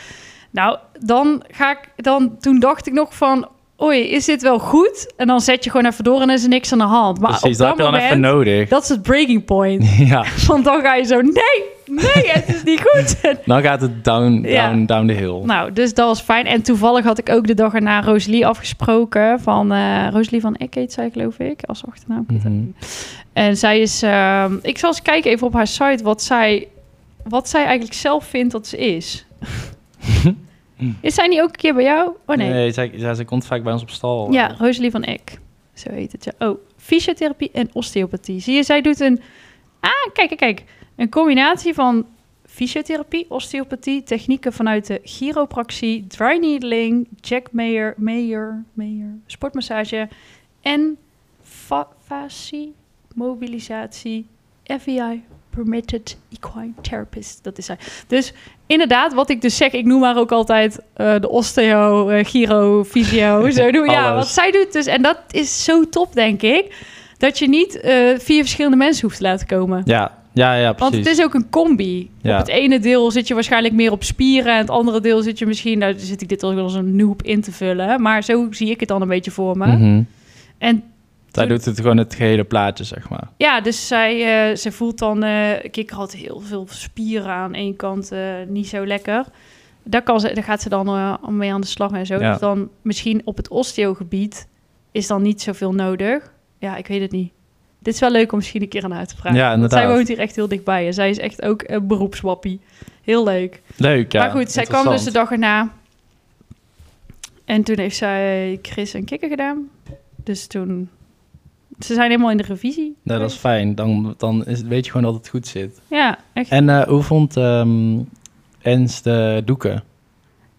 Nou, dan ga ik, dan, toen dacht ik nog van, oei, is dit wel goed? En dan zet je gewoon even door en is er niks aan de hand. Maar
precies.
op dat,
Dat heb je dan
moment,
even nodig.
dat is het breaking point.
<laughs> Ja,
Want dan ga je zo, nee, nee, het is niet goed.
<laughs>
En-
dan gaat het down, down,
Ja.
down the hill.
nou, dus dat was fijn. En toevallig had ik ook de dag erna Rosalie afgesproken van, eh Rosalie van Eckheet, zei ik, geloof ik, als achternaam.
Mhm.
En zij is, ehm, ik zal eens kijken even op haar site wat zij, wat zij eigenlijk zelf vindt dat ze
<laughs>
is. is zij niet ook een keer bij jou? Oh nee.
zij, zij, zij komt vaak bij ons op stal.
Ja, Rosalie van Eck. Zo heet het. Ja. Oh, fysiotherapie en osteopathie. Zie je, zij doet een... Ah, kijk, kijk, kijk. Een combinatie van fysiotherapie, osteopathie, technieken vanuit de chiropractie, dry needling, Jack Mayer, Mayer, Mayer, sportmassage en fa fascie, mobilisatie, FEI, Permitted Equine Therapist. Dat is zij. Dus inderdaad, wat ik dus zeg, ik noem haar ook altijd eh, de osteo, eh gyro,
<laughs>
fysio, zo noem Ja,
Alles.
wat zij doet dus. En dat is zo top, denk ik. Dat je niet eh, vier verschillende mensen hoeft te laten komen.
Ja, ja, ja, precies.
Want het is ook een combi.
Ja.
Op het ene deel zit je waarschijnlijk meer op spieren. En het andere deel zit je misschien... Nou, zit ik dit al wel als een noob in te vullen. Maar zo zie ik het dan een beetje voor me.
Mhm.
En
Zij doet het gewoon het gehele plaatje, zeg maar.
Ja, dus zij, eh, ze voelt dan... eh Kikker had heel veel spieren aan één kant eh, niet zo lekker. Daar, kan ze, daar gaat ze dan eh, mee aan de slag en zo.
Ja.
Dus dan misschien op het osteogebied is dan niet zoveel nodig. Ja, ik weet het niet. Dit is wel leuk om misschien een keer aan haar te vragen.
Ja,
Want Zij
inderdaad.
woont hier echt heel dichtbij. En zij is echt ook een beroepswappie. Heel leuk.
Leuk, ja.
maar goed, zij kwam dus de
Interessant.
dag erna. En toen heeft zij Chris en Kikker gedaan. Dus toen... Ze zijn helemaal in de revisie.
Ja, dat is fijn. Dan, dan is, weet je gewoon dat het goed zit.
Ja, echt.
En eh, hoe vond ehm Ens de doeken?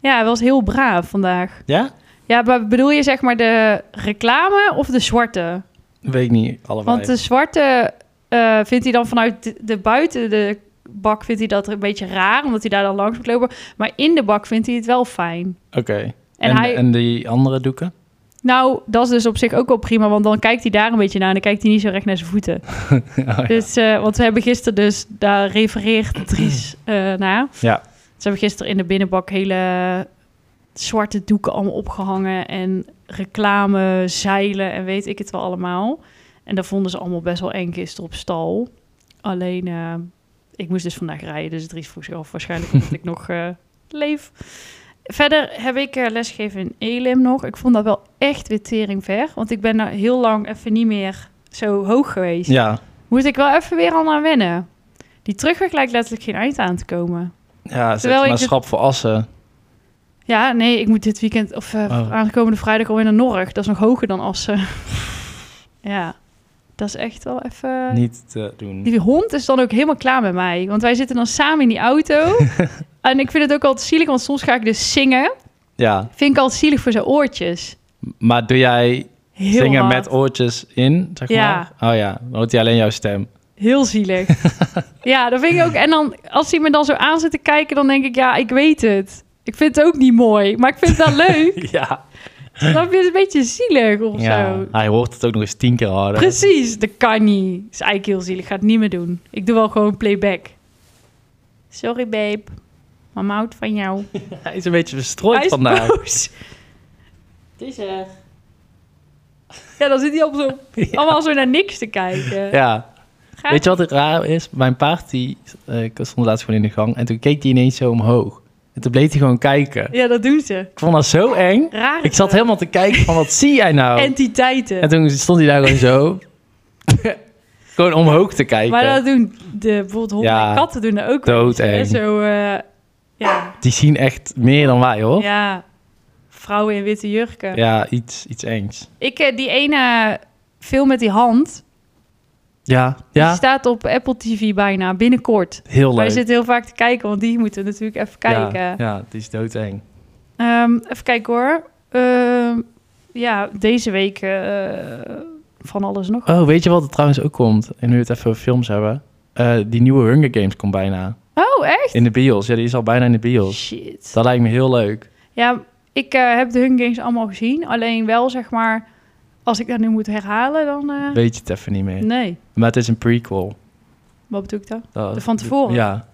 Ja, hij was heel braaf vandaag.
Ja?
Ja, maar bedoel je zeg maar de reclame of de zwarte?
Weet ik niet, allebei.
Want de zwarte eh, vindt hij dan vanuit de, de buiten de bak vindt hij dat een beetje raar, omdat hij daar dan langs moet lopen. Maar in de bak vindt hij het wel fijn.
Oké.
En
En, en,
hij-
die andere doeken? <laughs>
Nou, dat is dus op zich ook wel prima, want dan kijkt hij daar een beetje naar en dan kijkt hij niet zo recht naar zijn voeten.
Oh, ja.
Dus, eh, want we hebben gisteren dus, daar refereert Dries eh, naar.
Ja.
Ze hebben gisteren in de binnenbak hele zwarte doeken allemaal opgehangen. En reclame, zeilen en weet ik het wel allemaal. En dat vonden ze allemaal best wel eng gisteren op stal. Alleen, eh, ik moest dus vandaag rijden, dus Dries vroeg zich af waarschijnlijk dat
<laughs>
ik nog eh, leef. Verder heb ik eh, lesgegeven in Elim nog. Ik vond dat wel echt weer tering ver. Want ik ben nou heel lang even niet meer zo hoog geweest.
ja.
Moet ik wel even weer al aan wennen. Die terugweg lijkt letterlijk geen eind aan te komen.
Ja, zet
Terwijl ik
maar
dit-
schrap voor assen.
Ja, nee, ik moet dit weekend of eh,
Oh.
aankomende vrijdag alweer naar Norg. Dat is nog hoger dan Assen.
<laughs>
ja, dat is echt wel even...
Niet te doen.
Die hond is dan ook helemaal klaar met mij. Want wij zitten dan samen in die auto.
<laughs>
en ik vind het ook altijd zielig, want soms ga ik dus zingen.
Ja.
Vind ik altijd zielig voor zijn oortjes.
Maar doe jij
Heel
zingen
hard.
met oortjes in, zeg
Ja.
maar? Oh ja. Dan hoort hij alleen jouw stem.
Heel
<laughs>
zielig. ja, dat vind ik ook. En dan, als hij me dan zo aan zit te kijken, dan denk ik, ja, ik weet het. Ik vind het ook niet mooi, maar ik vind het wel leuk.
<laughs> Ja.
Dan vind je het een beetje zielig of
ja.
zo.
Hij hoort het ook nog eens tien keer harder.
Precies, dat kan niet. Dat is eigenlijk heel zielig. Ik ga het niet meer doen. Ik doe wel gewoon playback. Sorry, babe. Mama houdt van jou.
Hij is een beetje verstrooid
Hij is <laughs>
vandaag.
boos. Het is er. Ja, dan zit hij op
<laughs>
zo, allemaal zo naar niks te kijken.
Ja.
Ga-
Weet je wat het raar is? Mijn paard, die, eh, ik stond laatst gewoon in de gang en toen keek hij ineens zo omhoog. En toen bleef hij gewoon kijken.
Ja, dat doen ze.
Ik vond dat zo eng.
Raar.
Ik zat helemaal te kijken van, wat zie jij nou?
Entiteiten.
En toen stond hij daar gewoon zo. <laughs> Gewoon omhoog te kijken.
Maar dat doen de, bijvoorbeeld honden
Ja.
en katten doen dat ook wel eens, hè.
Doodeng.
Zo, eh, ja,
Die zien echt meer dan wij, hoor. Ja,
ja, vrouwen in witte jurken.
iets, iets engs.
Ik, eh, die ene film met die hand,
Ja,
die
ja,
staat op Apple TV bijna, binnenkort.
heel leuk.
Wij zitten heel vaak te kijken, want die moeten we natuurlijk even
Ja,
kijken.
Ja, het is doodeng.
Ehm, even kijken hoor. Ehm, ja, deze week eh, van alles nog.
Oh, weet je wat er trouwens ook komt? En nu we het even over films hebben. Eh, die nieuwe Hunger Games komt bijna.
Oh, echt?
In de bios. Ja, die is al bijna in de bios.
Shit.
Dat lijkt me heel leuk.
Ja, ik eh, heb de Hunger Games allemaal gezien. Alleen wel, zeg maar, als ik dat nu moet herhalen, dan... eh,
Weet je het even niet meer.
nee.
Maar het is een prequel.
Wat bedoel ik dan?
Dat-
Van tevoren?
Oh, Ja.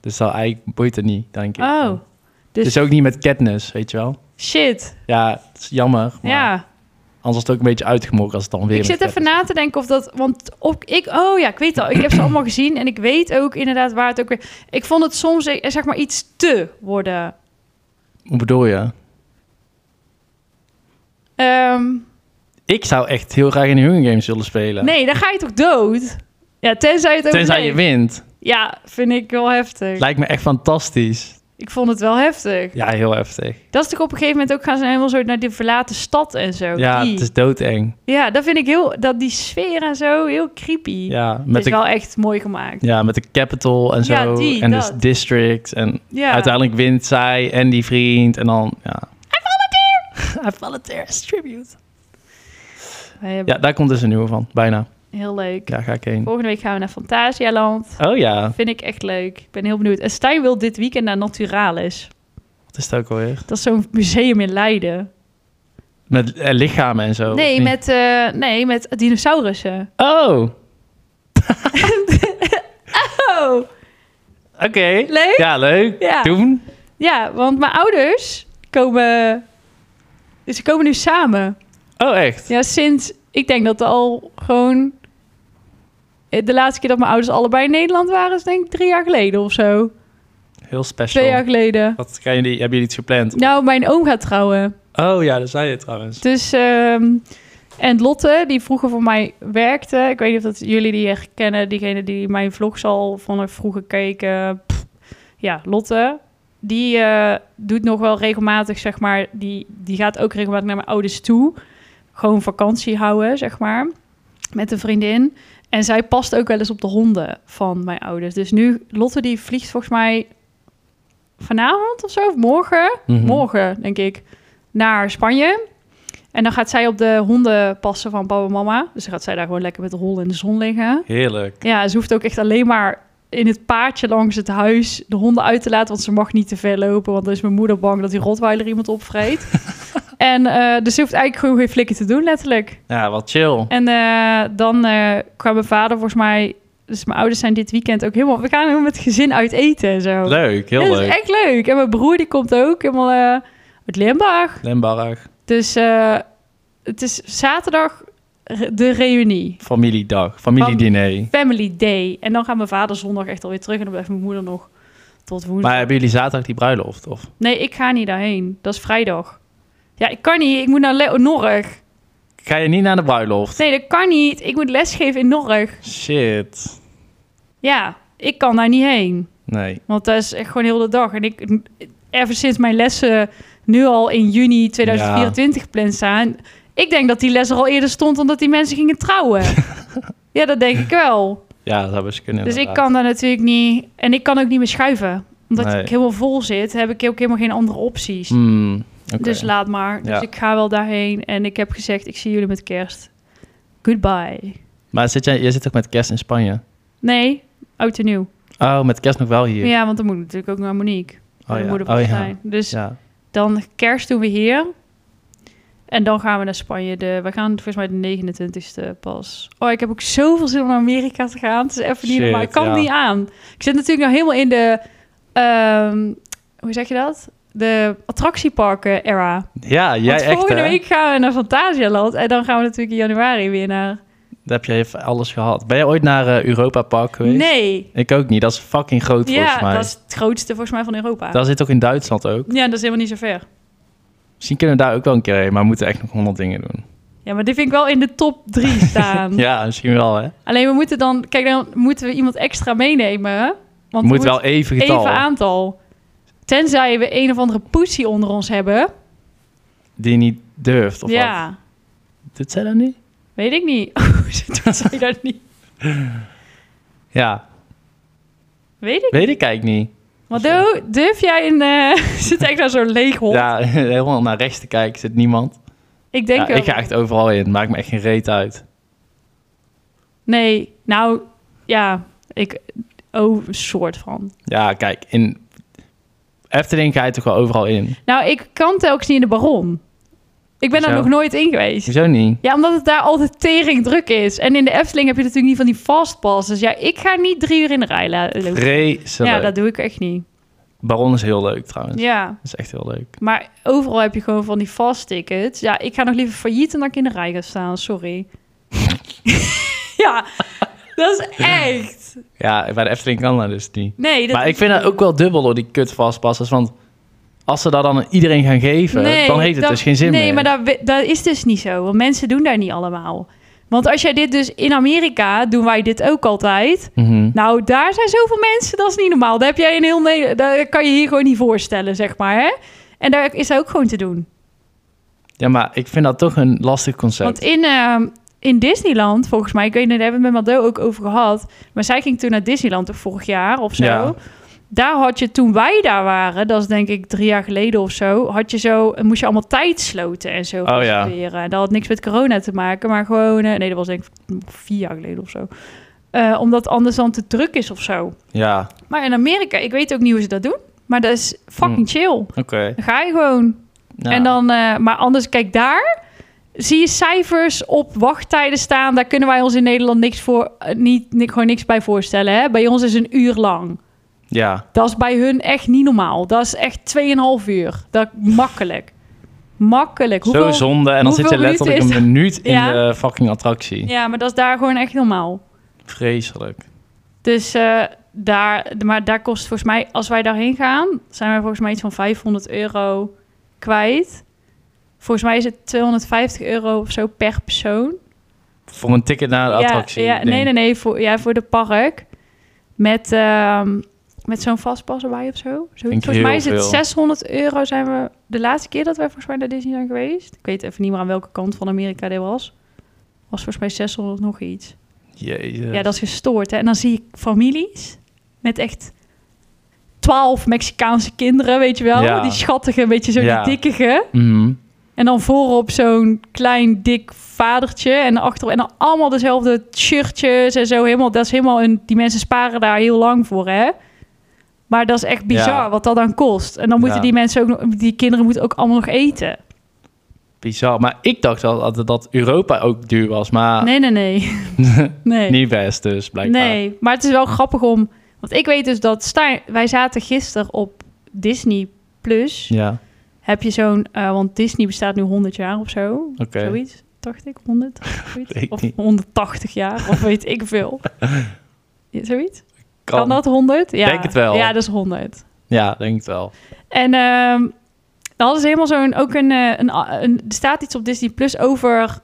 Dus dat eigenlijk boeit het niet, denk ik.
Oh,
Dus...
dus
Het is ook niet met Katniss, weet je wel?
shit.
Ja, het is jammer. Maar
Ja.
Anders is het ook een beetje uitgemokt als het dan weer
Ik
met
zit even
Katniss-
na te denken of dat... Want op, ik, oh ja, ik weet al. Ik heb ze allemaal gezien. En ik weet ook inderdaad waar het ook weer... Ik vond het soms eh, zeg maar iets te worden.
Hoe bedoel je?
Ehm,
Ik zou echt heel graag in de Hunger Games willen spelen.
nee, dan ga je toch dood? Ja, tenzij het ook
Tenzij je wint.
Ja, vind ik wel heftig.
Lijkt me echt fantastisch.
Ik vond het wel heftig.
Ja, heel heftig.
Dat is toch op een gegeven moment ook gaan ze helemaal zo naar die verlaten stad en zo.
Ja,
Oh, Die.
het is doodeng.
ja dat vind ik heel... Dat die sfeer en zo, heel creepy.
Ja,
het is
met de,
wel echt mooi gemaakt.
ja, met de capital en zo.
Ja, die,
en
dat.
de district. En
Ja.
uiteindelijk wint zij en die vriend. En dan, ja. I volunteer as tribute.
Wij hebben-
Ja, daar komt dus een nieuwe van. Bijna.
Heel leuk.
Ja, ga ik heen.
Volgende week gaan we naar Fantasialand.
Oh ja,
Vind ik echt leuk. Ik ben heel benieuwd. En Stijn wil dit weekend naar Naturalis.
wat is het ook alweer?
Dat is zo'n museum in Leiden.
Met eh, lichamen en zo. of
nee,
niet?
met, eh, nee, met dinosaurussen.
Oh, oké.
Oh, leuk.
Ja, leuk.
Ja.
Doen.
Ja, want mijn ouders komen... Dus ze komen nu samen.
Oh, echt?
Ja, sinds... Ik denk dat al gewoon... eh, De laatste keer dat mijn ouders allebei in Nederland waren... is denk ik drie jaar geleden of zo.
Heel special.
Twee jaar geleden.
Wat gaan jullie, hebben jullie iets gepland?
Nou, mijn oom gaat trouwen.
Oh ja, dat zei je trouwens.
Dus, ehm, en Lotte, die vroeger voor mij werkte. Ik weet niet of dat jullie die herkennen. Diegene die mijn vlogs al van haar vroeger keken. Pff. Ja, Lotte. Die eh, doet nog wel regelmatig, zeg maar. Die, die gaat ook regelmatig naar mijn ouders toe. Gewoon vakantie houden, zeg maar. Met een vriendin. En zij past ook wel eens op de honden van mijn ouders. Dus nu, Lotte die vliegt volgens mij vanavond of zo, of morgen
Mhm.
morgen, denk ik, naar Spanje. En dan gaat zij op de honden passen van papa en mama. Dus dan gaat zij daar gewoon lekker met de hol in de zon liggen.
Heerlijk.
Ja, ze hoeft ook echt alleen maar in het paadje langs het huis de honden uit te laten. Want ze mag niet te ver lopen, want dan is mijn moeder bang dat die rotweiler iemand opvreet. en eh, dus ze hoeft eigenlijk gewoon geen flikken te doen, letterlijk.
Ja, wat chill.
En eh, dan eh, kwam mijn vader volgens mij... Dus mijn ouders zijn dit weekend ook helemaal... We gaan helemaal met het gezin uit eten en zo.
Leuk, heel
Ja, dat
leuk.
is echt leuk. En mijn broer die komt ook helemaal eh, uit Limburg.
Lembarg,
Dus eh, het is zaterdag re- de reunie.
familiedag, familiediner.
Family day. En dan gaat mijn vader zondag echt alweer terug. En dan blijft mijn moeder nog tot woensdag.
Maar hebben jullie zaterdag die bruiloft? Of?
Nee, ik ga niet daarheen. Dat is vrijdag. Ja, ik kan niet. Ik moet naar Le- Norg.
Ga je niet naar de bruiloft?
Nee, dat kan niet. Ik moet lesgeven in Norg.
Shit.
Ja, ik kan daar niet heen.
Nee.
Want dat is echt gewoon heel de dag. En ik, even sinds mijn lessen nu al in juni 2024 plan staan. Ik denk dat die les er al eerder stond omdat die mensen gingen
<laughs>
trouwen. ja, dat denk ik wel.
Ja, dat hebben ze kunnen.
Dus ik
inderdaad.
kan daar natuurlijk niet. En ik kan ook niet meer schuiven. Omdat
Nee.
ik helemaal vol zit, heb ik ook helemaal geen andere opties.
Hmm, oké.
Dus laat maar. Dus
Ja.
ik ga wel daarheen. En ik heb gezegd, ik zie jullie met kerst. Goodbye.
Maar zit jij, jij zit ook met kerst in Spanje?
Nee, oud en nieuw.
Oh, met kerst nog wel hier.
Ja, want dan moet ik natuurlijk ook naar Monique.
oh,
mijn
ja.
moeder
oh,
van
ja.
Stijn. Dus
ja.
Dan kerst doen we hier. En dan gaan we naar Spanje. De, we gaan volgens mij de 29e pas. Oh, ik heb ook zoveel zin om naar Amerika te gaan. Het is even niet
Shit,
normaal. Ik kan het
ja.
niet aan. Ik zit natuurlijk nou helemaal in de... ehm, hoe zeg je dat? De attractieparken-era.
Ja, jij
Want
echt
volgende
hè?
week gaan we naar Fantasialand. En dan gaan we natuurlijk in januari weer naar...
Daar heb je even alles gehad. Ben je ooit naar eh, Europa Park geweest?
Nee.
Ik ook niet. Dat is fucking groot volgens
Ja,
mij.
dat is het grootste volgens mij van Europa.
Daar zit ook in Duitsland ook.
Ja, dat is helemaal niet zo ver.
Misschien kunnen we daar ook wel een keer heen, maar we moeten echt nog honderd dingen doen.
Ja, maar die vind ik wel in de top
<laughs>
drie staan.
Ja, misschien wel, hè?
Alleen we moeten dan... Kijk, dan moeten we iemand extra meenemen, hè? Want
moet
we
wel even getal.
even aantal. Tenzij we een of andere poesie onder ons hebben.
Die niet durft, of wat?
ja,
Doet zij dat niet?
weet ik niet. <laughs> Hoe doet zij dat niet?
Ja,
Weet ik
weet ik eigenlijk niet.
Maar do, durf jij een... eh, <laughs> zit echt daar zo'n leeg hond?
Ja, <laughs> helemaal naar rechts te kijken zit niemand.
Ik denk
Ja,
wel.
ik ga echt overal in, maakt me echt geen reet uit.
Nee, nou, ja, ik... Oh, een soort van.
Ja, kijk, in Efteling ga je toch wel overal in?
Nou, ik kan telkens niet in de baron. Ik ben er
Hoezo?
nog nooit in geweest.
Hoezo niet?
Ja, omdat het daar altijd tering druk is. En in de Efteling heb je natuurlijk niet van die fastpass. Dus ja, ik ga niet drie uur in de rij la- lopen.
Vreselijk.
Ja, dat doe ik echt niet.
Baron is heel leuk trouwens.
Ja,
Dat is echt heel leuk.
maar overal heb je gewoon van die fast tickets. Ja, ik ga nog liever failliet dan dat ik in de rij ga staan. Sorry. <laughs> ja, dat is echt.
Ja, bij de Efteling kan dat dus niet.
Nee, dat
maar
is-
ik vind dat ook wel dubbel door die kut vastpassers. Want als ze dat dan aan iedereen gaan geven,
Nee,
dan heeft het
dat-
dus geen zin
nee,
meer.
maar dat, we- dat is dus niet zo. Want mensen doen daar niet allemaal. Want als jij dit dus in Amerika, doen wij dit ook altijd.
Mhm.
Nou, daar zijn zoveel mensen, dat is niet normaal. Daar heb jij in heel Ne- daar kan je hier gewoon niet voorstellen, zeg maar. Hè? En daar is ook gewoon te doen.
Ja, maar ik vind dat toch een lastig concept.
Want in, ehm, in Disneyland, volgens mij, ik weet niet, daar hebben we het met Mado ook over gehad. Maar zij ging toen naar Disneyland toch vorig jaar of zo.
Ja.
Daar had je toen wij daar waren, dat is denk ik drie jaar geleden of zo, had je zo, moest je allemaal tijdsloten en zo
Oh ja.
reserveren. Dat had niks met corona te maken, maar gewoon, eh, nee, dat was denk ik vier jaar geleden of zo. Eh, omdat anders dan te druk is of zo.
Ja,
Maar in Amerika, ik weet ook niet hoe ze dat doen. Maar dat is fucking
Hmm.
chill.
oké.
Dan ga je gewoon.
Ja.
En dan, eh, maar anders, kijk daar. Zie je cijfers op wachttijden staan? Daar kunnen wij ons in Nederland niks voor, eh, niet, ni- gewoon niks bij voorstellen. Hè? Bij ons is een uur lang.
Ja,
Dat is bij hun echt niet normaal. Dat is echt 2,5 uur. Dat makkelijk. Makkelijk.
zo zonde. En dan zit je
hoeveel
letterlijk een
minuten
minuut in
Ja.
de fucking attractie.
Ja, maar dat is daar gewoon echt normaal.
Vreselijk.
Dus eh, daar, maar daar kost volgens mij, als wij daarheen gaan, zijn wij volgens mij iets van 500 euro kwijt. Volgens mij is het 250 euro of zo per persoon.
Voor een ticket naar de
ja,
attractie.
ja,
ding.
nee, nee, nee, voor, ja, voor de park. Met, ehm, met zo'n vastpas erbij of zo. Zoiets.
Vind ik
Volgens mij
heel
is het
veel.
600 euro zijn we de laatste keer dat wij volgens mij naar Disney zijn geweest. Ik weet even niet meer aan welke kant van Amerika dit was. Was volgens mij 600 nog iets.
Jezus.
Ja, dat is gestoord. Hè? En dan zie ik families met echt twaalf Mexicaanse kinderen, weet je wel.
Ja.
Die schattige, een beetje zo
Ja.
die dikkige.
Mhm.
En dan voorop zo'n klein, dik vadertje. En, achter, en dan allemaal dezelfde shirtjes en zo. Helemaal, dat is helemaal een, die mensen sparen daar heel lang voor, hè. Maar dat is echt bizar
Ja.
wat dat dan kost. En dan moeten
Ja.
die mensen ook nog, die kinderen moeten ook allemaal nog eten.
Bizar. Maar ik dacht wel altijd dat Europa ook duur was. Maar
Nee, nee,
<laughs>
nee. nee.
niet best dus, blijkbaar.
Nee, maar het is wel grappig om... Want ik weet dus dat Stijn... Wij zaten gisteren op Disney Plus.
Ja,
Heb je zo'n... eh, want Disney bestaat nu 100 jaar of zo.
oké.
Zoiets, dacht ik. 100? zoiets.
Weet ik
of
niet.
180 jaar, of weet ik
<laughs>
veel. Ja, Zoiets? Kan, dat 100? Ja.
Denk het wel.
Ja, dat is 100.
Ja, denk het wel.
En ehm dan hadden ze helemaal zo'n... Ook een, eh, een, a- een, er staat iets op Disney Plus over...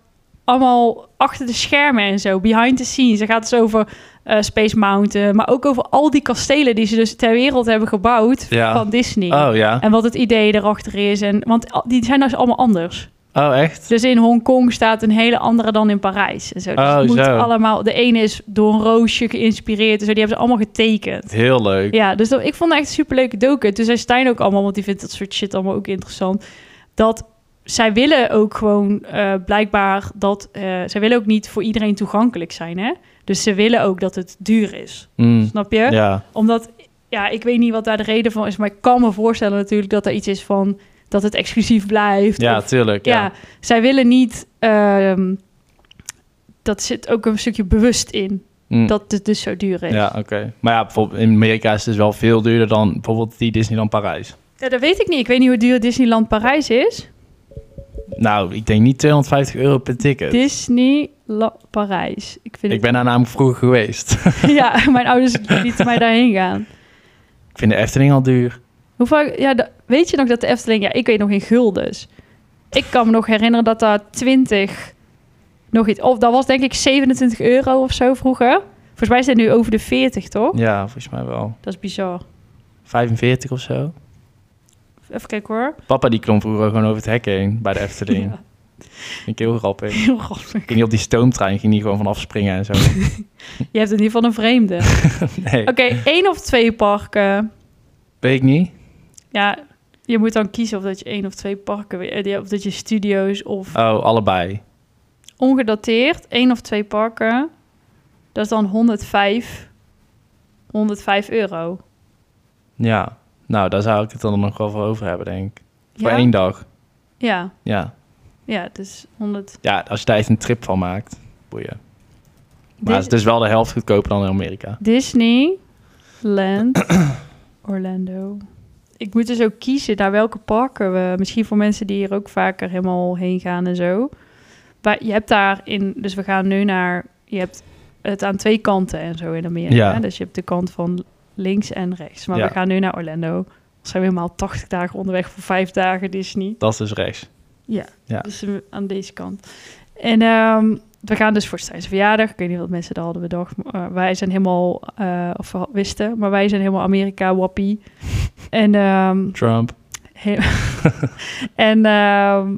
Allemaal achter de schermen en zo. Behind the scenes. Daar gaat dus over eh, Space Mountain. Maar ook over al die kastelen die ze dus ter wereld hebben gebouwd
Ja.
van Disney.
Oh ja.
En wat het idee erachter is. En, want al- die zijn dus allemaal anders.
Oh echt?
Dus in Hongkong staat een hele andere dan in Parijs. En zo. Dus
Oh,
het moet
zo.
allemaal... De ene is door een roosje geïnspireerd. En zo. Die hebben ze allemaal getekend.
Heel leuk.
Ja, dus dat, ik vond het echt een superleuke docu. Toen zei Stijn ook allemaal, want die vindt dat soort shit allemaal ook interessant. Dat zij willen ook gewoon eh, blijkbaar dat... eh, zij willen ook niet voor iedereen toegankelijk zijn, hè? Dus ze willen ook dat het duur is.
Mm,
Snap je?
ja.
Omdat, ja, ik weet niet wat daar de reden van is... maar ik kan me voorstellen natuurlijk dat er iets is van... dat het exclusief blijft.
ja,
of-
tuurlijk.
ja.
Ja.
zij willen niet... ehm, dat zit ook een stukje bewust in.
Mm,
Dat het dus zo duur is.
Ja, oké. Maar ja, bijvoorbeeld in Amerika is het dus wel veel duurder dan bijvoorbeeld die Disneyland Parijs.
Ja, dat weet ik niet. Ik weet niet hoe duur Disneyland Parijs is.
Nou, ik denk niet 250 euro per ticket.
Disneyland Parijs. Ik, vind
Ik ben daar namelijk vroeger geweest. <laughs>
het... <laughs> Ja, mijn ouders lieten mij daarheen gaan.
ik vind de Efteling al duur.
Hoe vaak... Ja, da- weet dus. je nog dat de Efteling... Ja, ik weet nog in guldens. Ik kan me nog herinneren dat daar 20 nog iets. Of dat was denk ik 27 euro of zo vroeger. Volgens mij is het nu over de 40, toch?
Ja, volgens mij wel.
Dat is bizar.
45 of zo.
Even kijken hoor.
Papa die klom vroeger gewoon over het hek heen bij de Efteling.
<laughs> Ja.
Vind ik heel grappig.
Heel grappig.
Ging niet op die stoomtrein, ging niet gewoon vanaf
<laughs>
springen en zo.
Je hebt in ieder geval een vreemde. Oké,
Nee,
één of twee parken.
weet ik niet.
Ja, je moet dan kiezen of dat je één of twee parken... wil- eh, Of dat je studio's of
Oh, allebei.
ongedateerd. één of twee parken. Dat is dan 105, 105 euro.
Ja. Nou, daar zou ik het dan nog wel voor over hebben, denk ik. Voor
ja?
één dag.
Ja,
Ja.
ja, dus 100...
Ja, als je daar echt een trip van maakt, boeien. Maar
Dis-
het is dus wel de helft goedkoper dan in Amerika.
Disney,
<clears throat>
Land, Orlando. Ik moet dus ook kiezen naar welke parken we... Misschien voor mensen die hier ook vaker helemaal heen gaan en zo. Maar je hebt daarin... Dus we gaan nu naar... Je hebt het aan twee kanten en zo in Amerika.
Ja.
Dus je hebt de kant van links en rechts. Maar
Ja.
we gaan nu naar Orlando. Dan zijn we helemaal 80 dagen onderweg voor vijf dagen Disney.
Dat is dus rechts. Ja.
Dus eh, aan deze kant. En ehm, we gaan dus voor Stijn's verjaardag. Ik weet niet wat mensen daar hadden bedacht. maar, eh, wij zijn helemaal, eh, of we wisten, maar wij zijn helemaal Amerika wappie. en ehm,
Trump.
he- <laughs> en ehm,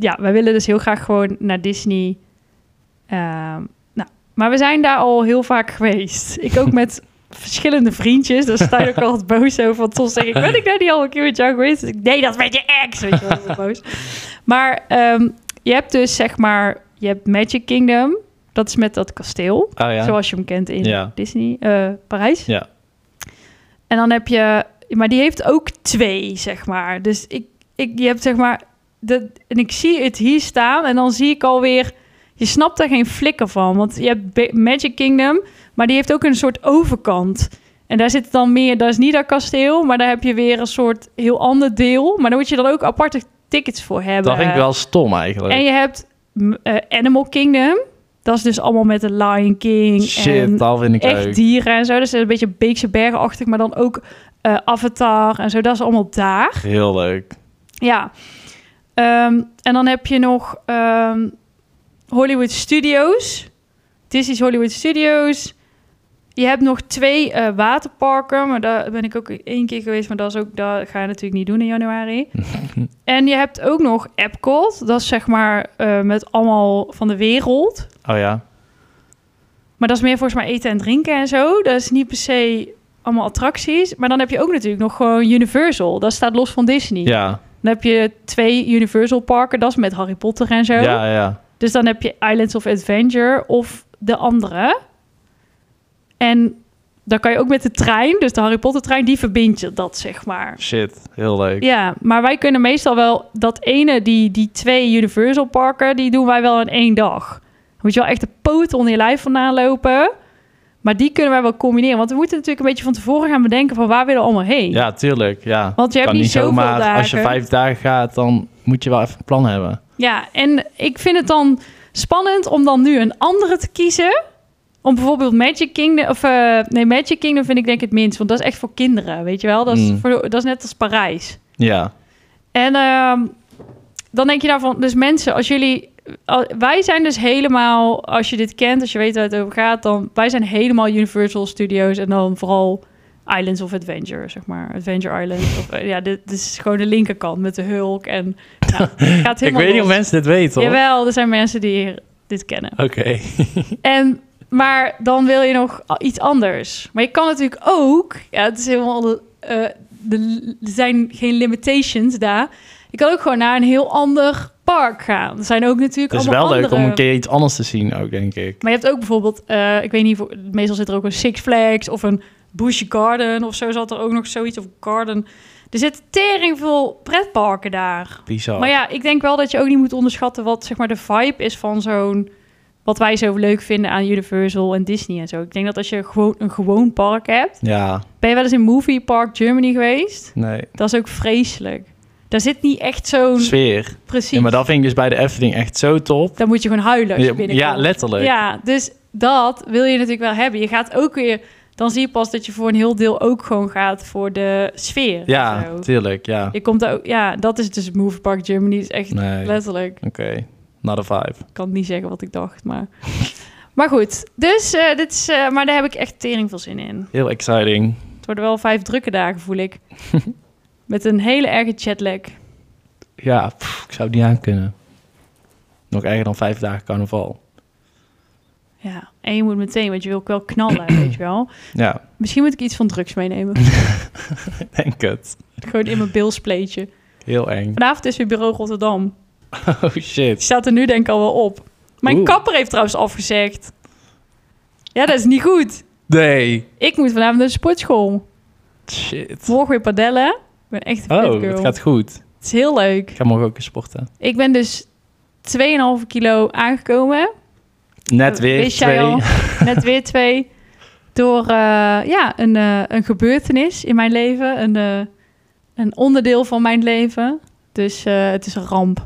ja, wij willen dus heel graag gewoon naar Disney. Ehm, nou, maar we zijn daar al heel vaak geweest. Ik ook met verschillende vriendjes. Daar sta je ook altijd boos over. Want soms denk ik, ben ik nou niet al een keer met jou geweest? Dus ik, nee, dat is met je ex. Weet je wel, ik ben boos. Maar ehm, je hebt dus zeg maar, je hebt Magic Kingdom. Dat is met dat kasteel.
Oh ja.
Zoals je hem kent in
Ja.
Disney, eh, Parijs.
Ja.
En dan heb je, maar die heeft ook twee, zeg maar. Dus ik, ik je hebt zeg maar, dat, en ik zie het hier staan en dan zie ik alweer, je snapt daar geen flikker van. Want je hebt Ba- Magic Kingdom, maar die heeft ook een soort overkant. En daar zit dan meer, daar is niet dat kasteel, maar daar heb je weer een soort heel ander deel. Maar daar moet je dan ook aparte tickets voor hebben.
Dat vind ik wel stom eigenlijk.
En je hebt m, eh, Animal Kingdom. Dat is dus allemaal met de Lion King.
Shit,
en
dat vind ik
ehm, echt
leuk.
dieren en zo. Dus een beetje Beekse Bergenachtig, maar dan ook eh, Avatar en zo. Dat is allemaal daar.
Heel leuk.
Ja. Ehm, en dan heb je nog ehm, Hollywood Studios. Disney's Hollywood Studios. Je hebt nog twee eh, waterparken, maar daar ben ik ook één keer geweest, maar dat, is ook, dat ga je natuurlijk niet doen in januari. en je hebt ook nog Epcot, dat is zeg maar eh, met allemaal van de wereld.
Oh ja.
Maar dat is meer volgens mij eten en drinken en zo. Dat is niet per se allemaal attracties. Maar dan heb je ook natuurlijk nog gewoon Universal. Dat staat los van Disney.
Ja.
Dan heb je twee Universal parken. Dat is met Harry Potter en zo.
Ja, ja.
Dus dan heb je Islands of Adventure of de andere. En dan kan je ook met de trein, dus de Harry Potter trein, die verbindt je dat, zeg maar.
Shit. Heel leuk.
Ja, maar wij kunnen meestal wel dat ene, die, die twee Universal parken, die doen wij wel in één dag. Dan moet je wel echt de poot onder je lijf vandaan lopen. Maar die kunnen wij wel combineren. Want we moeten natuurlijk een beetje van tevoren gaan bedenken van waar willen we allemaal heen.
Ja, tuurlijk. Ja.
Want je hebt
kan
niet zoveel
zomaar,
dagen.
als je vijf dagen gaat, dan moet je wel even een plan hebben.
Ja, en ik vind het dan spannend om dan nu een andere te kiezen. Om bijvoorbeeld Magic Kingdom, of eh, nee, Magic Kingdom vind ik denk ik het minst. Want dat is echt voor kinderen, weet je wel. Dat is,
Mm.
voor, dat is net als Parijs.
Ja.
En ehm, dan denk je daarvan, dus mensen, als jullie... al- wij zijn dus helemaal, als je dit kent, als je weet waar het over gaat, dan... Wij zijn helemaal Universal Studios en dan vooral Islands of Adventure, zeg maar. Adventure Island. Of, eh, ja, dit, dit is gewoon de linkerkant met de Hulk en...
<laughs>
Ja, het gaat
Ik
helemaal
weet niet of
los.
mensen dit weten, hoor.
Jawel, er zijn mensen die hier dit kennen.
Oké.
En, maar dan wil je nog a- iets anders. Maar je kan natuurlijk ook... Ja, het is helemaal... eh, de- er zijn geen limitations daar. Je kan ook gewoon naar een heel ander park gaan. Er zijn ook natuurlijk
Het is
allemaal
wel leuk
andere...
om een keer iets anders te zien ook, denk ik.
Maar je hebt ook bijvoorbeeld... eh, ik weet niet, voor- meestal zit er ook een Six Flags... of een Busch Garden of zo zat er ook nog zoiets. Of Garden. Er zitten tering veel pretparken daar.
Bizar.
Maar ja, ik denk wel dat je ook niet moet onderschatten wat zeg maar de vibe is van zo'n wat wij zo leuk vinden aan Universal en Disney en zo. Ik denk dat als je gewoon een gewoon park hebt,
Ja,
ben je wel eens in Movie Park Germany geweest?
nee.
Dat is ook vreselijk. Daar zit niet echt zo'n
Sfeer.
precies.
Ja, maar dat vind ik dus bij de Efteling echt zo top.
Dan moet je gewoon huilen als je
Ja,
binnenkomt.
ja, letterlijk.
Ja, dus dat wil je natuurlijk wel hebben. Je gaat ook weer, dan zie je pas dat je voor een heel deel ook gewoon gaat voor de sfeer. en
Ja,
zo.
tuurlijk, ja.
je komt daar ook, ja, dat is dus Movie Park Germany is echt
Nee, oké.
letterlijk.
Not a vibe.
Ik kan niet zeggen wat ik dacht, maar... <laughs> maar goed, dus eh, dit is... eh, maar daar heb ik echt tering veel zin in.
Heel exciting.
Het worden wel vijf drukke dagen, voel
<laughs>
ik. Met een hele erge jetlag.
Ja, pff, ik zou het niet aankunnen. Nog erger dan vijf dagen carnaval.
Ja, en je moet meteen, want je wil ook wel knallen, weet je wel.
Ja,
Misschien moet ik iets van drugs meenemen.
<laughs> ik denk het.
Gewoon in mijn bilspleetje. <laughs>
Heel eng.
Vanavond is weer bureau Rotterdam.
Oh shit.
Die staat er nu denk ik al wel op. Mijn
Oeh.
kapper heeft trouwens afgezegd. Ja, dat is niet goed.
Nee.
Ik moet vanavond naar de sportschool.
Shit.
Morgen weer padellen. Ik ben echt een fit
Oh,
girl.
het gaat goed.
Het is heel leuk.
Ik ga morgen ook eens sporten.
Ik ben dus 2,5 kilo aangekomen.
Net weer
Oh, Wist
twee.
jij al? Net weer twee. Door eh, ja, een, eh, een gebeurtenis in mijn leven. Een, eh, een onderdeel van mijn leven. Dus eh, het is een
<laughs>
ramp.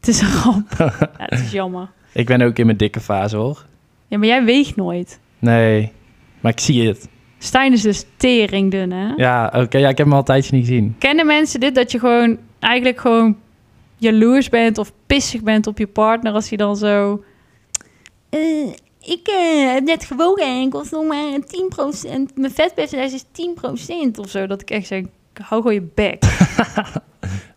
het is een ramp. ja, het is jammer.
<laughs> Ik ben ook in mijn dikke fase hoor.
Ja, maar jij weegt nooit.
Nee. Maar ik zie het.
Stijn is dus teringdun, hè?
Ja, oké. ja, ik heb hem al een tijdje niet gezien.
Kennen mensen dit? Dat je gewoon eigenlijk gewoon jaloers bent of pissig bent op je partner als hij dan zo...
Eh, ik eh, heb net gewogen en ik was nog maar 10%. Mijn vetpercentage is 10%.
Of zo, dat ik echt zeg, hou gewoon je bek.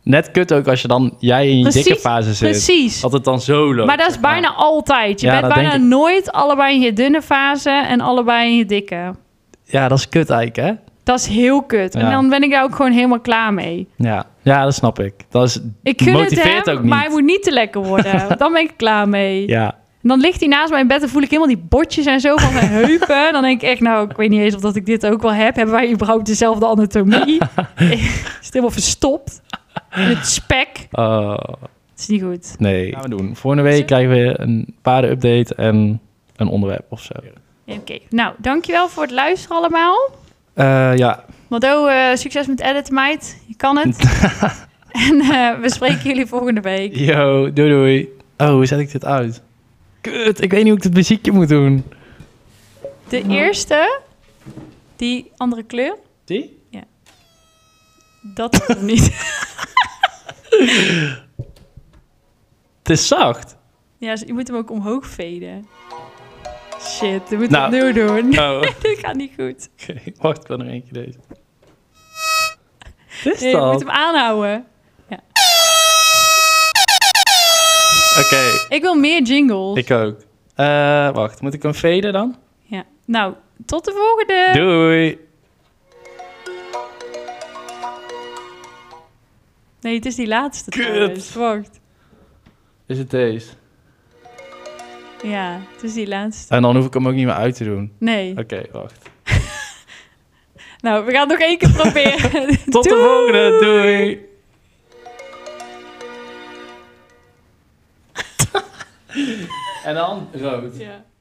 Net kut ook als je dan jij in je
Precies,
dikke fase zit.
Precies.
eh, Dat het dan zo loopt.
Maar dat is
zeg maar.
bijna altijd. Je
Ja,
bent
dat
bijna
denk
nooit allebei in je dunne fase en allebei in je dikke.
Ja, dat is kut eigenlijk, hè?
Dat is heel kut. En
Ja.
dan ben ik daar ook gewoon helemaal klaar mee.
Ja, ja dat snap ik. Dat is...
Ik gun
Motiveert
het hem,
ook niet.
maar hij moet niet te lekker
<laughs>
worden. dan ben ik klaar mee.
Ja.
En dan ligt hij naast mij in bed en voel ik helemaal die botjes en zo van
<laughs>
mijn heupen. Dan denk ik echt, nou, ik weet niet eens of dat ik dit ook wel heb. Hebben wij überhaupt dezelfde
<laughs>
anatomie? is het helemaal verstopt? In het spek.
Oh,
Het is niet goed.
nee. Gaan we doen. Volgende week krijgen we een paardenupdate en een onderwerp of zo.
Ja, Oké, nou, dankjewel voor het luisteren allemaal.
Eh, ja,
Mado, eh, succes met editen, meid. Je kan
<laughs>
het. en eh, we spreken jullie volgende week.
yo, doei doei. Oh, hoe zet ik dit uit? Kut, ik weet niet hoe ik dit muziekje moet doen.
De eerste, die andere kleur,
Zie?
dat is hem niet. <laughs>
Het is zacht.
Ja, je moet hem ook omhoog veden. Shit, we moeten
Nou.
het opnieuw doen. <laughs>
Oh, <laughs> oké.
Dit gaat niet goed.
Wacht, ik wil nog eentje deze. Wat is
Nee, je
dat?
moet hem aanhouden.
Oké,
Ik wil meer jingles.
ik ook. Eh, wacht, moet ik hem faden dan?
Ja. Nou, tot de volgende.
Doei.
Nee, het is die laatste.
Kut.
trouwens. Wacht.
Is het deze?
Ja, het is die laatste.
En dan hoef ik hem ook niet meer uit te doen.
Nee.
Oké, wacht.
Nou, we gaan het nog één keer proberen.
<laughs> Tot de
Doei.
volgende, <laughs> doei. en dan rood.
Ja.